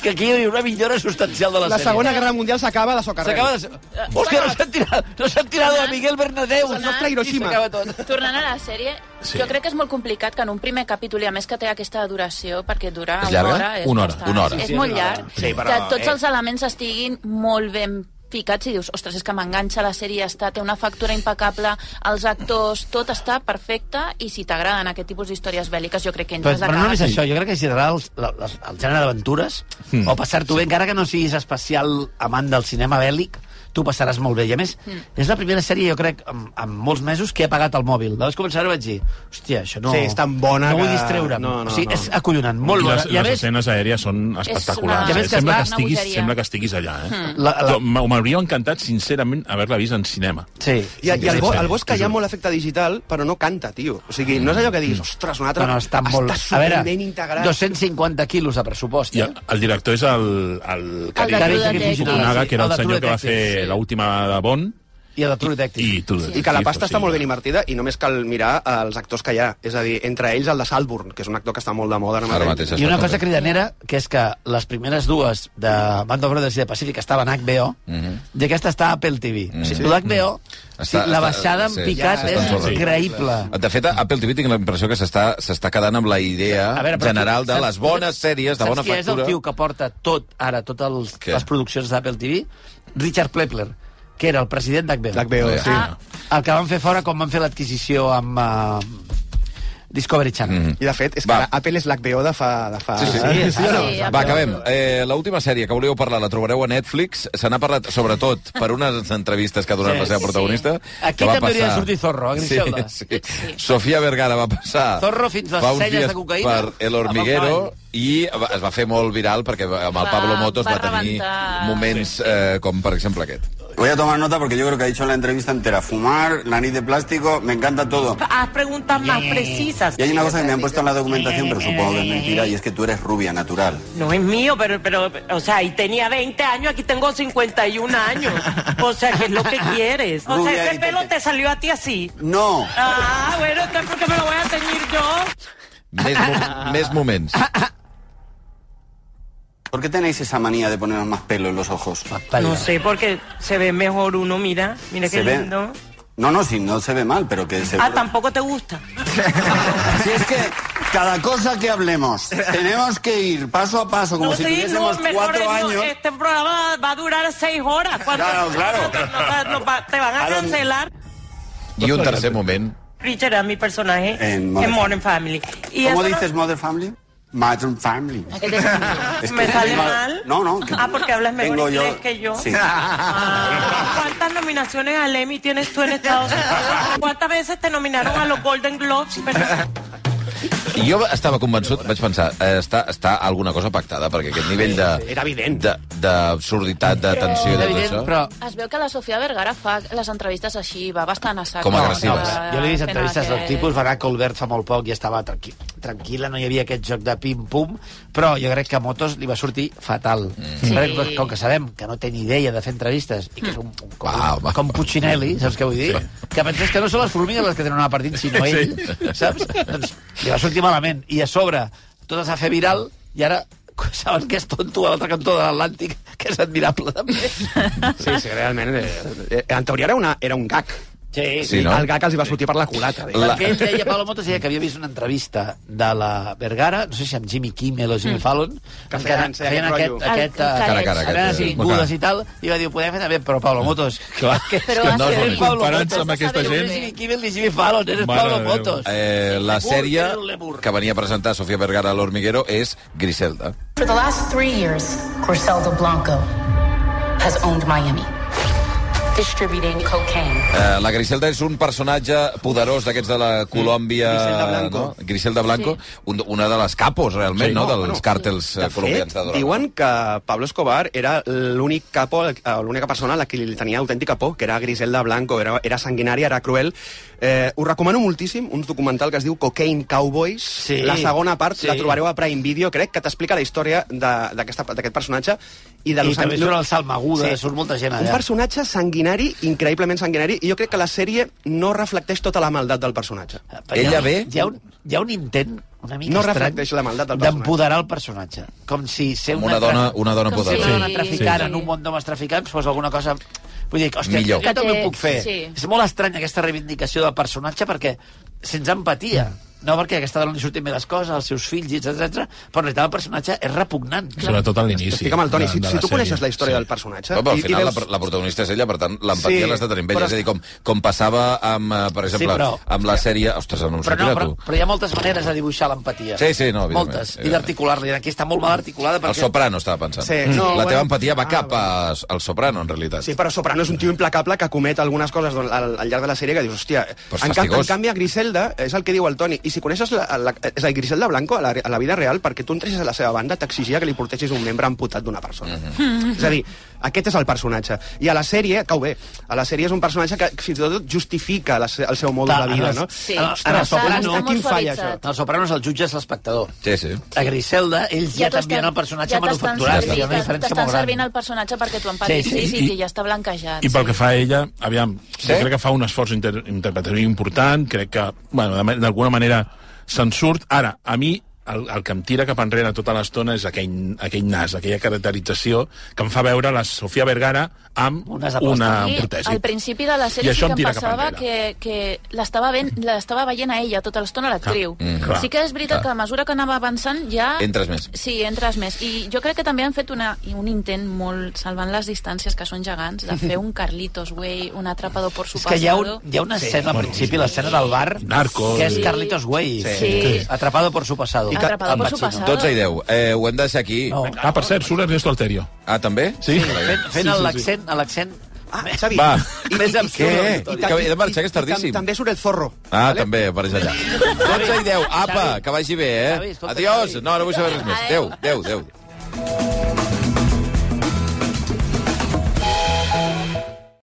Speaker 2: que aquí hi hauria una millora substancial de la,
Speaker 4: la
Speaker 2: sèrie.
Speaker 4: Segona Guerra Mundial s'acaba de socarrer.
Speaker 2: S'acaba de... Hòstia, no s'han tirat, no s'han tirat a Miguel Bernadeu.
Speaker 4: El nostre Hiroshima.
Speaker 2: I s'acaba tot.
Speaker 6: Tornant a la sèrie, sí. jo crec que és molt complicat que en un primer capítol, i a més que té aquesta duració, perquè dura
Speaker 3: És
Speaker 6: una
Speaker 3: llarga?
Speaker 6: hora... és
Speaker 3: Una hora,
Speaker 6: bastant,
Speaker 3: una hora.
Speaker 6: És
Speaker 3: Sí,
Speaker 6: molt llarg,
Speaker 4: Sí, però,
Speaker 6: que tots
Speaker 4: eh.
Speaker 6: els elements estiguin molt ben ficats i dius, ostres, és que m'enganxa la sèrie, ja està, té una factura impecable, els actors, tot està perfecte, i si t'agraden aquest tipus d'històries bèl·liques, jo crec que
Speaker 2: Però,
Speaker 6: entres
Speaker 2: però
Speaker 6: de
Speaker 2: no
Speaker 6: cara.
Speaker 2: només això, jo crec que si t'agrada el, la- la- el gènere d'aventures,
Speaker 7: Hmm.
Speaker 2: mm. o passar-t'ho bé, encara que no siguis especial amant del cinema bèl·lic, tu passaràs molt bé. I a més, mm. és la primera sèrie, jo crec, amb, amb molts mesos que he pagat el mòbil. La vaig començar i vaig dir, hòstia, això no...
Speaker 4: Sí, és tan bona
Speaker 2: No vull
Speaker 4: que-
Speaker 2: distreure'm.
Speaker 4: No, no,
Speaker 2: o sigui,
Speaker 4: no.
Speaker 2: és acollonant, molt
Speaker 7: I
Speaker 2: bona.
Speaker 7: les,
Speaker 2: I a
Speaker 7: les
Speaker 2: més,
Speaker 7: escenes aèries són espectaculars.
Speaker 6: una-
Speaker 7: eh?
Speaker 2: Ja ves que es
Speaker 7: sembla, que
Speaker 2: va-
Speaker 6: una
Speaker 7: estiguis,
Speaker 6: bogeria.
Speaker 7: sembla que estiguis allà. Eh? Mm.
Speaker 2: La- la-
Speaker 7: M'hauria encantat, sincerament, haver-la vist en cinema.
Speaker 2: Sí.
Speaker 4: I, i el, bo, el bo és que hi ha
Speaker 7: Sí.
Speaker 4: molt efecte digital, però no canta, tio. O sigui, no és allò que diguis, ostres, un altre...
Speaker 2: No, no, està molt...
Speaker 4: Està superben integrat.
Speaker 2: 250 quilos de pressupost,
Speaker 7: I
Speaker 2: eh?
Speaker 7: el, el director és el... El,
Speaker 6: El de True Detective.
Speaker 7: Fukunaga, que era
Speaker 2: El de
Speaker 7: el
Speaker 2: True
Speaker 7: senyor que va
Speaker 2: Detective,
Speaker 7: fer
Speaker 2: sí.
Speaker 7: l'última de Bond,
Speaker 2: I el Trudecti.
Speaker 7: I, tu,
Speaker 4: I que la pasta està molt ben invertida i només cal mirar els actors que hi ha. És a dir, entre ells el de Salburn, que és un actor que està molt de moda ara
Speaker 3: Ara
Speaker 4: mateix.
Speaker 3: mateix
Speaker 2: I
Speaker 3: està
Speaker 2: una cosa
Speaker 3: tot bé.
Speaker 2: cridanera, que és que les primeres dues de Band of Brothers i de Pacific estaven a HBO,
Speaker 3: Mm.
Speaker 2: i aquesta està a Apple TV. Mm -hmm. L'HBO,
Speaker 3: Està-
Speaker 2: la
Speaker 3: està-
Speaker 2: baixada en
Speaker 3: sí,
Speaker 2: picat
Speaker 3: s'està
Speaker 2: és
Speaker 3: ensorrant.
Speaker 2: increïble.
Speaker 3: De fet, a Apple TV tinc la impressió que s'està s'està quedant amb la idea
Speaker 2: A veure, però
Speaker 3: general
Speaker 2: tu-
Speaker 3: de
Speaker 2: saps-
Speaker 3: les bones sèries, de
Speaker 2: saps
Speaker 3: bona
Speaker 2: qui és el
Speaker 3: factura.
Speaker 2: tio que porta tot, ara, totes
Speaker 3: Què?
Speaker 2: les produccions d'Apple TV? Richard Plepler, que era el president d'HBO.
Speaker 4: L'HBO, sí.
Speaker 6: Ah,
Speaker 2: El que van fer fora quan van fer l'adquisició amb uh, Discovery Channel.
Speaker 3: Mhm.
Speaker 4: I de fet, és
Speaker 3: Va.
Speaker 4: que ara Apple és l'HBO de fa... De fa...
Speaker 3: Sí, sí.
Speaker 2: Sí, sí,
Speaker 6: Ah, sí, ja
Speaker 3: Va,
Speaker 6: veu.
Speaker 3: acabem. Eh, L'última sèrie que volíeu parlar la trobareu a Netflix. Se n'ha parlat, sobretot, per unes entrevistes que ha donat
Speaker 2: Sí,
Speaker 3: la seva
Speaker 6: sí,
Speaker 3: protagonista.
Speaker 6: sí.
Speaker 3: que
Speaker 2: Aquí
Speaker 3: va
Speaker 2: també hauria de
Speaker 3: passar-
Speaker 2: sortir Zorro, a Griselda.
Speaker 3: Sí, sí. Sofia Vergara va passar...
Speaker 2: Zorro fins les
Speaker 3: fa uns
Speaker 2: celles de
Speaker 3: dies
Speaker 2: cocaïna.
Speaker 3: Per El Hormiguero, i va- es va fer molt viral perquè amb el
Speaker 6: Va-
Speaker 3: Pablo Motos va,
Speaker 6: va
Speaker 3: tenir
Speaker 6: rebentar.
Speaker 3: moments eh, com, per exemple, aquest.
Speaker 10: Voy a tomar nota porque yo creo que ha dicho en la entrevista entera fumar, nariz de plástico, me encanta todo.
Speaker 11: Haz preguntas más precisas.
Speaker 10: Y hay una cosa que me han puesto en la documentación, pero supongo que es mentira, y es que tú eres rubia natural.
Speaker 11: No es mío, pero, pero, o sea, y tenía 20 años, aquí tengo 51 años. O sea, ¿qué es lo que quieres? O
Speaker 10: Rubia
Speaker 11: sea,
Speaker 10: y
Speaker 11: ese pelo
Speaker 10: tete.
Speaker 11: te salió a ti así.
Speaker 10: No.
Speaker 11: Ah, bueno, entonces, ¿por qué me lo voy a teñir yo?
Speaker 3: Més, mo més moments.
Speaker 10: ¿Por qué tenéis esa manía de poneros más pelo en los ojos?
Speaker 11: No sé, porque se ve mejor uno, mira, mira qué
Speaker 10: Se ve-
Speaker 11: lindo.
Speaker 10: No, no, si no se ve mal, pero que se
Speaker 11: Ah, tampoco te gusta.
Speaker 10: Si es que cada cosa que hablemos tenemos que ir paso a paso, como
Speaker 11: no,
Speaker 10: si
Speaker 11: sí,
Speaker 10: tuviésemos
Speaker 11: no, mejor
Speaker 10: cuatro
Speaker 11: es no,
Speaker 10: años.
Speaker 11: Este programa va a durar seis horas. ¿Cuánto-
Speaker 10: Claro, claro.
Speaker 11: no, no, no, va- te van a
Speaker 10: ¿A dónde?
Speaker 11: cancelar.
Speaker 3: I un tercer moment.
Speaker 11: Richard era mi personaje
Speaker 10: En
Speaker 11: en,
Speaker 10: Modern
Speaker 11: Modern Family. Y
Speaker 10: ¿Cómo
Speaker 11: eso no-
Speaker 10: dices Mother Family? Modern Family. Es
Speaker 11: ¿Me
Speaker 10: que
Speaker 11: sale
Speaker 10: tengo-
Speaker 11: mal?
Speaker 10: No, no. que-
Speaker 11: Ah, porque hablas mejor
Speaker 10: tengo
Speaker 11: inglés que yo.
Speaker 10: Sí.
Speaker 11: Ah, ¿Cuántas nominaciones al Emmy tienes tú en Estados Unidos? ¿Cuántas veces te nominaron a los Golden Globes? Pero-
Speaker 3: I jo estava convençut, vaig pensar, eh, està, està alguna cosa pactada, perquè aquest nivell de...
Speaker 4: Era evident.
Speaker 3: de- D'absurditat, de, tensió i de tot
Speaker 2: Evident,
Speaker 3: això...
Speaker 2: però
Speaker 6: Es veu que la Sofia Vergara fa les entrevistes així, va bastant a sac.
Speaker 3: Com
Speaker 6: no?
Speaker 3: agressives.
Speaker 6: Va
Speaker 2: Jo li he vist
Speaker 6: fent
Speaker 2: entrevistes del
Speaker 6: aquest-
Speaker 2: tipus, Barack Colbert fa molt poc i estava tranqui tranquil·la, no hi havia aquest joc de pim-pum, però jo crec que a Motos li va sortir fatal. Mm. Perquè,
Speaker 6: Sí.
Speaker 2: com que sabem que no té ni idea de fer entrevistes i que és un, un, com,
Speaker 3: Va,
Speaker 2: un,
Speaker 3: va.
Speaker 2: com Puccinelli, saps què vull dir? Que penses que no són les formigues les que tenen una partida, sinó ell, saps? Doncs li va sortir malament. I a sobre, tot es va fer viral i ara saben que és tonto a l'altre cantó de l'Atlàntic, que és admirable, també.
Speaker 4: Sí, sí, realment. Eh, eh, en teoria era, una, era un gag.
Speaker 2: Sí,
Speaker 3: Sí, no?
Speaker 4: El gag els hi va sortir per la culata. bé.
Speaker 3: La-
Speaker 2: Perquè ell deia, Pablo Motos deia que havia vist una entrevista de la Vergara, no sé si amb Jimmy Kimmel o Jimmy Fallon,
Speaker 4: Que
Speaker 2: en
Speaker 4: feien- feien rotllo.
Speaker 2: aquest, aquest,
Speaker 6: El- el
Speaker 2: eh,
Speaker 6: Cara a
Speaker 3: cara,
Speaker 2: feien
Speaker 3: aquest, sí.
Speaker 2: cingudes i tal, i va dir, ho podem fer també, però Pablo Motos...
Speaker 7: Clar,
Speaker 2: que,
Speaker 6: Però
Speaker 3: És que no
Speaker 6: has
Speaker 3: és
Speaker 6: de
Speaker 3: bonic.
Speaker 6: Pablo
Speaker 7: Comparant-se
Speaker 6: Motos,
Speaker 7: amb aquesta
Speaker 6: has de
Speaker 7: gent-
Speaker 6: dir-ho
Speaker 2: Jimmy
Speaker 6: bé.
Speaker 2: Kimmel ni Jimmy Fallon, eres
Speaker 7: Mare
Speaker 2: Pablo
Speaker 7: de Déu.
Speaker 2: Motos.
Speaker 3: Eh, la
Speaker 2: Lemur,
Speaker 3: sèrie
Speaker 2: era un lemur.
Speaker 3: que venia a presentar Sofia Vergara a l'Hormiguero és Griselda.
Speaker 5: For the last three years, Griselda Blanco has owned Miami, distributing cocaine.
Speaker 3: Eh, la Griselda és un personatge poderós d'aquests de la Colòmbia...
Speaker 4: Griselda Blanco.
Speaker 3: No? Griselda Blanco, un, una de les capos, realment,
Speaker 7: Sí.
Speaker 3: no,
Speaker 7: No,
Speaker 3: dels
Speaker 4: bueno,
Speaker 3: càrtels eh,
Speaker 4: De
Speaker 3: colombians
Speaker 4: fet,
Speaker 3: de droga.
Speaker 4: diuen que Pablo Escobar era l'únic capo, eh, l'única persona a la que li tenia autèntica por, que era Griselda Blanco, era, era sanguinària, era cruel. Eh, us recomano moltíssim un documental que es diu Cocaine Cowboys.
Speaker 2: Sí.
Speaker 4: La segona part
Speaker 2: Sí.
Speaker 4: sí. la trobareu a Prime Video, crec, que t'explica la història de- d'aquesta- d'aquest personatge. I, de
Speaker 2: I
Speaker 4: Los
Speaker 2: també
Speaker 4: Angeles-
Speaker 2: surt el Salmaguda, surt molta gent
Speaker 4: Un
Speaker 2: allà.
Speaker 4: personatge sanguinari, increïblement sanguinari, i jo crec que la sèrie no reflecteix tota la maldat del personatge.
Speaker 2: Eh, Però hi ha-
Speaker 3: Ella ve-
Speaker 2: Hi ha un, hi ha un intent una mica
Speaker 4: No
Speaker 2: estrany
Speaker 4: reflecteix la maldat del personatge.
Speaker 2: d'empoderar el personatge. Com si ser
Speaker 3: Amb una dona, una dona
Speaker 6: Com si
Speaker 3: poderosa.
Speaker 2: sí, una
Speaker 6: Sí,
Speaker 2: traficant
Speaker 6: sí.
Speaker 2: en un món d'homes traficants fos alguna cosa... Vull dir, hòstia,
Speaker 3: Millor.
Speaker 2: jo també
Speaker 6: Que té-
Speaker 2: ho puc fer. Sí.
Speaker 6: sí.
Speaker 2: És molt estranya aquesta reivindicació del personatge perquè sense empatia. No perquè a aquesta dona li surtin bé les coses, els seus fills, etc però en realitat el personatge és repugnant.
Speaker 7: Sobretot a l'inici.
Speaker 4: Estic amb el Toni,
Speaker 7: de-
Speaker 4: si,
Speaker 7: de
Speaker 4: si
Speaker 7: la
Speaker 4: tu
Speaker 7: sèrie.
Speaker 4: coneixes la història
Speaker 7: Sí.
Speaker 4: del personatge...
Speaker 3: Però, però al
Speaker 4: i- i
Speaker 3: final
Speaker 4: veus-
Speaker 3: la, la protagonista és ella, per tant, l'empatia
Speaker 4: Sí,
Speaker 3: l'has de tenir amb ella.
Speaker 4: però-
Speaker 3: És a dir, com, com passava amb, eh, per exemple,
Speaker 2: però-
Speaker 3: amb la sèrie... Ostres, no em
Speaker 2: Però, no,
Speaker 3: sortirà,
Speaker 2: però,
Speaker 3: tu.
Speaker 2: però hi ha moltes maneres de dibuixar l'empatia.
Speaker 3: Sí, sí, no, evidentment,
Speaker 2: Moltes. I
Speaker 3: evidentment.
Speaker 2: d'articular-la. I Aquí està molt mal articulada
Speaker 3: El
Speaker 2: perquè...
Speaker 3: Soprano estava pensant. Mm.
Speaker 4: Sí, no,
Speaker 3: la
Speaker 4: bueno.
Speaker 3: teva empatia va
Speaker 4: Ah,
Speaker 3: cap a, al Soprano, en realitat.
Speaker 4: Sí, però Soprano és un tio implacable que comet algunes coses don- al, al llarg de la sèrie que dius, hòstia...
Speaker 3: Però és
Speaker 4: en, ca-
Speaker 3: fastigós.
Speaker 4: en canvi, a Griselda, és el que diu el Toni, i I si coneixes la, la, és a dir, Griselda Blanco a la, a la vida real, perquè tu entressis a la seva banda, t'exigia que li portessis un membre amputat d'una persona. És a dir, aquest és el personatge. I a la sèrie, cau bé, a la sèrie és un personatge que fins i tot justifica la, se- el seu modus
Speaker 2: Clar,
Speaker 4: de vida,
Speaker 2: en
Speaker 4: no?
Speaker 2: els- Sí. en els- en els Soprano-
Speaker 4: Aquí em falla això.
Speaker 2: En Els Sopranos el jutge és l'espectador.
Speaker 3: Sí, sí.
Speaker 2: A Griselda, ells ja,
Speaker 6: t'estan-
Speaker 2: canvien el personatge
Speaker 6: ja t'estan
Speaker 2: manufacturat.
Speaker 6: servint-
Speaker 2: Hi ha una diferència
Speaker 6: T'estan
Speaker 2: molt gran.
Speaker 6: servint el personatge perquè tu empatis.
Speaker 7: Sí,
Speaker 6: Sí,
Speaker 7: sí.
Speaker 6: sí,
Speaker 7: I-
Speaker 6: sí, ja està blanquejat.
Speaker 7: I pel que fa a ella, aviam,
Speaker 6: Sí?
Speaker 7: jo crec que fa un esforç inter interpretatiu important, crec que, bueno, de ma- d'alguna manera se'n surt. Ara, a mi, el, el que em tira cap enrere tota l'estona és aquell, aquell nas, aquella caracterització que em fa veure la Sofia Vergara amb una, una
Speaker 6: I
Speaker 7: protesi.
Speaker 6: al principi de la
Speaker 7: I
Speaker 6: sèrie
Speaker 7: això
Speaker 6: sí que
Speaker 7: em
Speaker 6: em
Speaker 7: tira cap
Speaker 6: passava que, que l'estava ven- l'estava veient a ella tota l'estona a l'actriu.
Speaker 3: Ah, mm, clar,
Speaker 6: sí que és veritat
Speaker 3: clar.
Speaker 6: que a mesura que anava avançant ja...
Speaker 3: Entres més.
Speaker 6: Sí, entres més. I jo crec que també han fet una, un intent molt, salvant les distàncies que són gegants, de fer un Carlitos Way, un atrapador por su
Speaker 2: És que hi ha, un, hi ha una escena al principi, l'escena del bar,
Speaker 3: Narcos.
Speaker 2: que és
Speaker 3: Sí.
Speaker 2: Carlitos Way.
Speaker 3: Sí. Sí.
Speaker 2: Atrapado por su pasado.
Speaker 6: Atrapado
Speaker 2: Al
Speaker 6: por su
Speaker 2: Pacino.
Speaker 6: pasado.
Speaker 3: 12 i 10. Eh, ho hem de deixar aquí. No.
Speaker 7: Ah, per cert, surt Ernesto Alterio.
Speaker 3: Ah, també?
Speaker 7: Sí.
Speaker 2: Fent, fent sí, sí, l'accent, sí. l'accent...
Speaker 4: Ah, Xavi,
Speaker 3: Va.
Speaker 2: Més absurd. de la
Speaker 3: Què?
Speaker 2: història.
Speaker 3: Que he de marxar, que és
Speaker 4: I
Speaker 3: tardíssim.
Speaker 4: també surt el zorro.
Speaker 3: Ah, també, apareix allà. 12 i 10. Apa, que vagi bé, eh? Adiós. No, no vull saber res més. Adéu, adéu, adéu.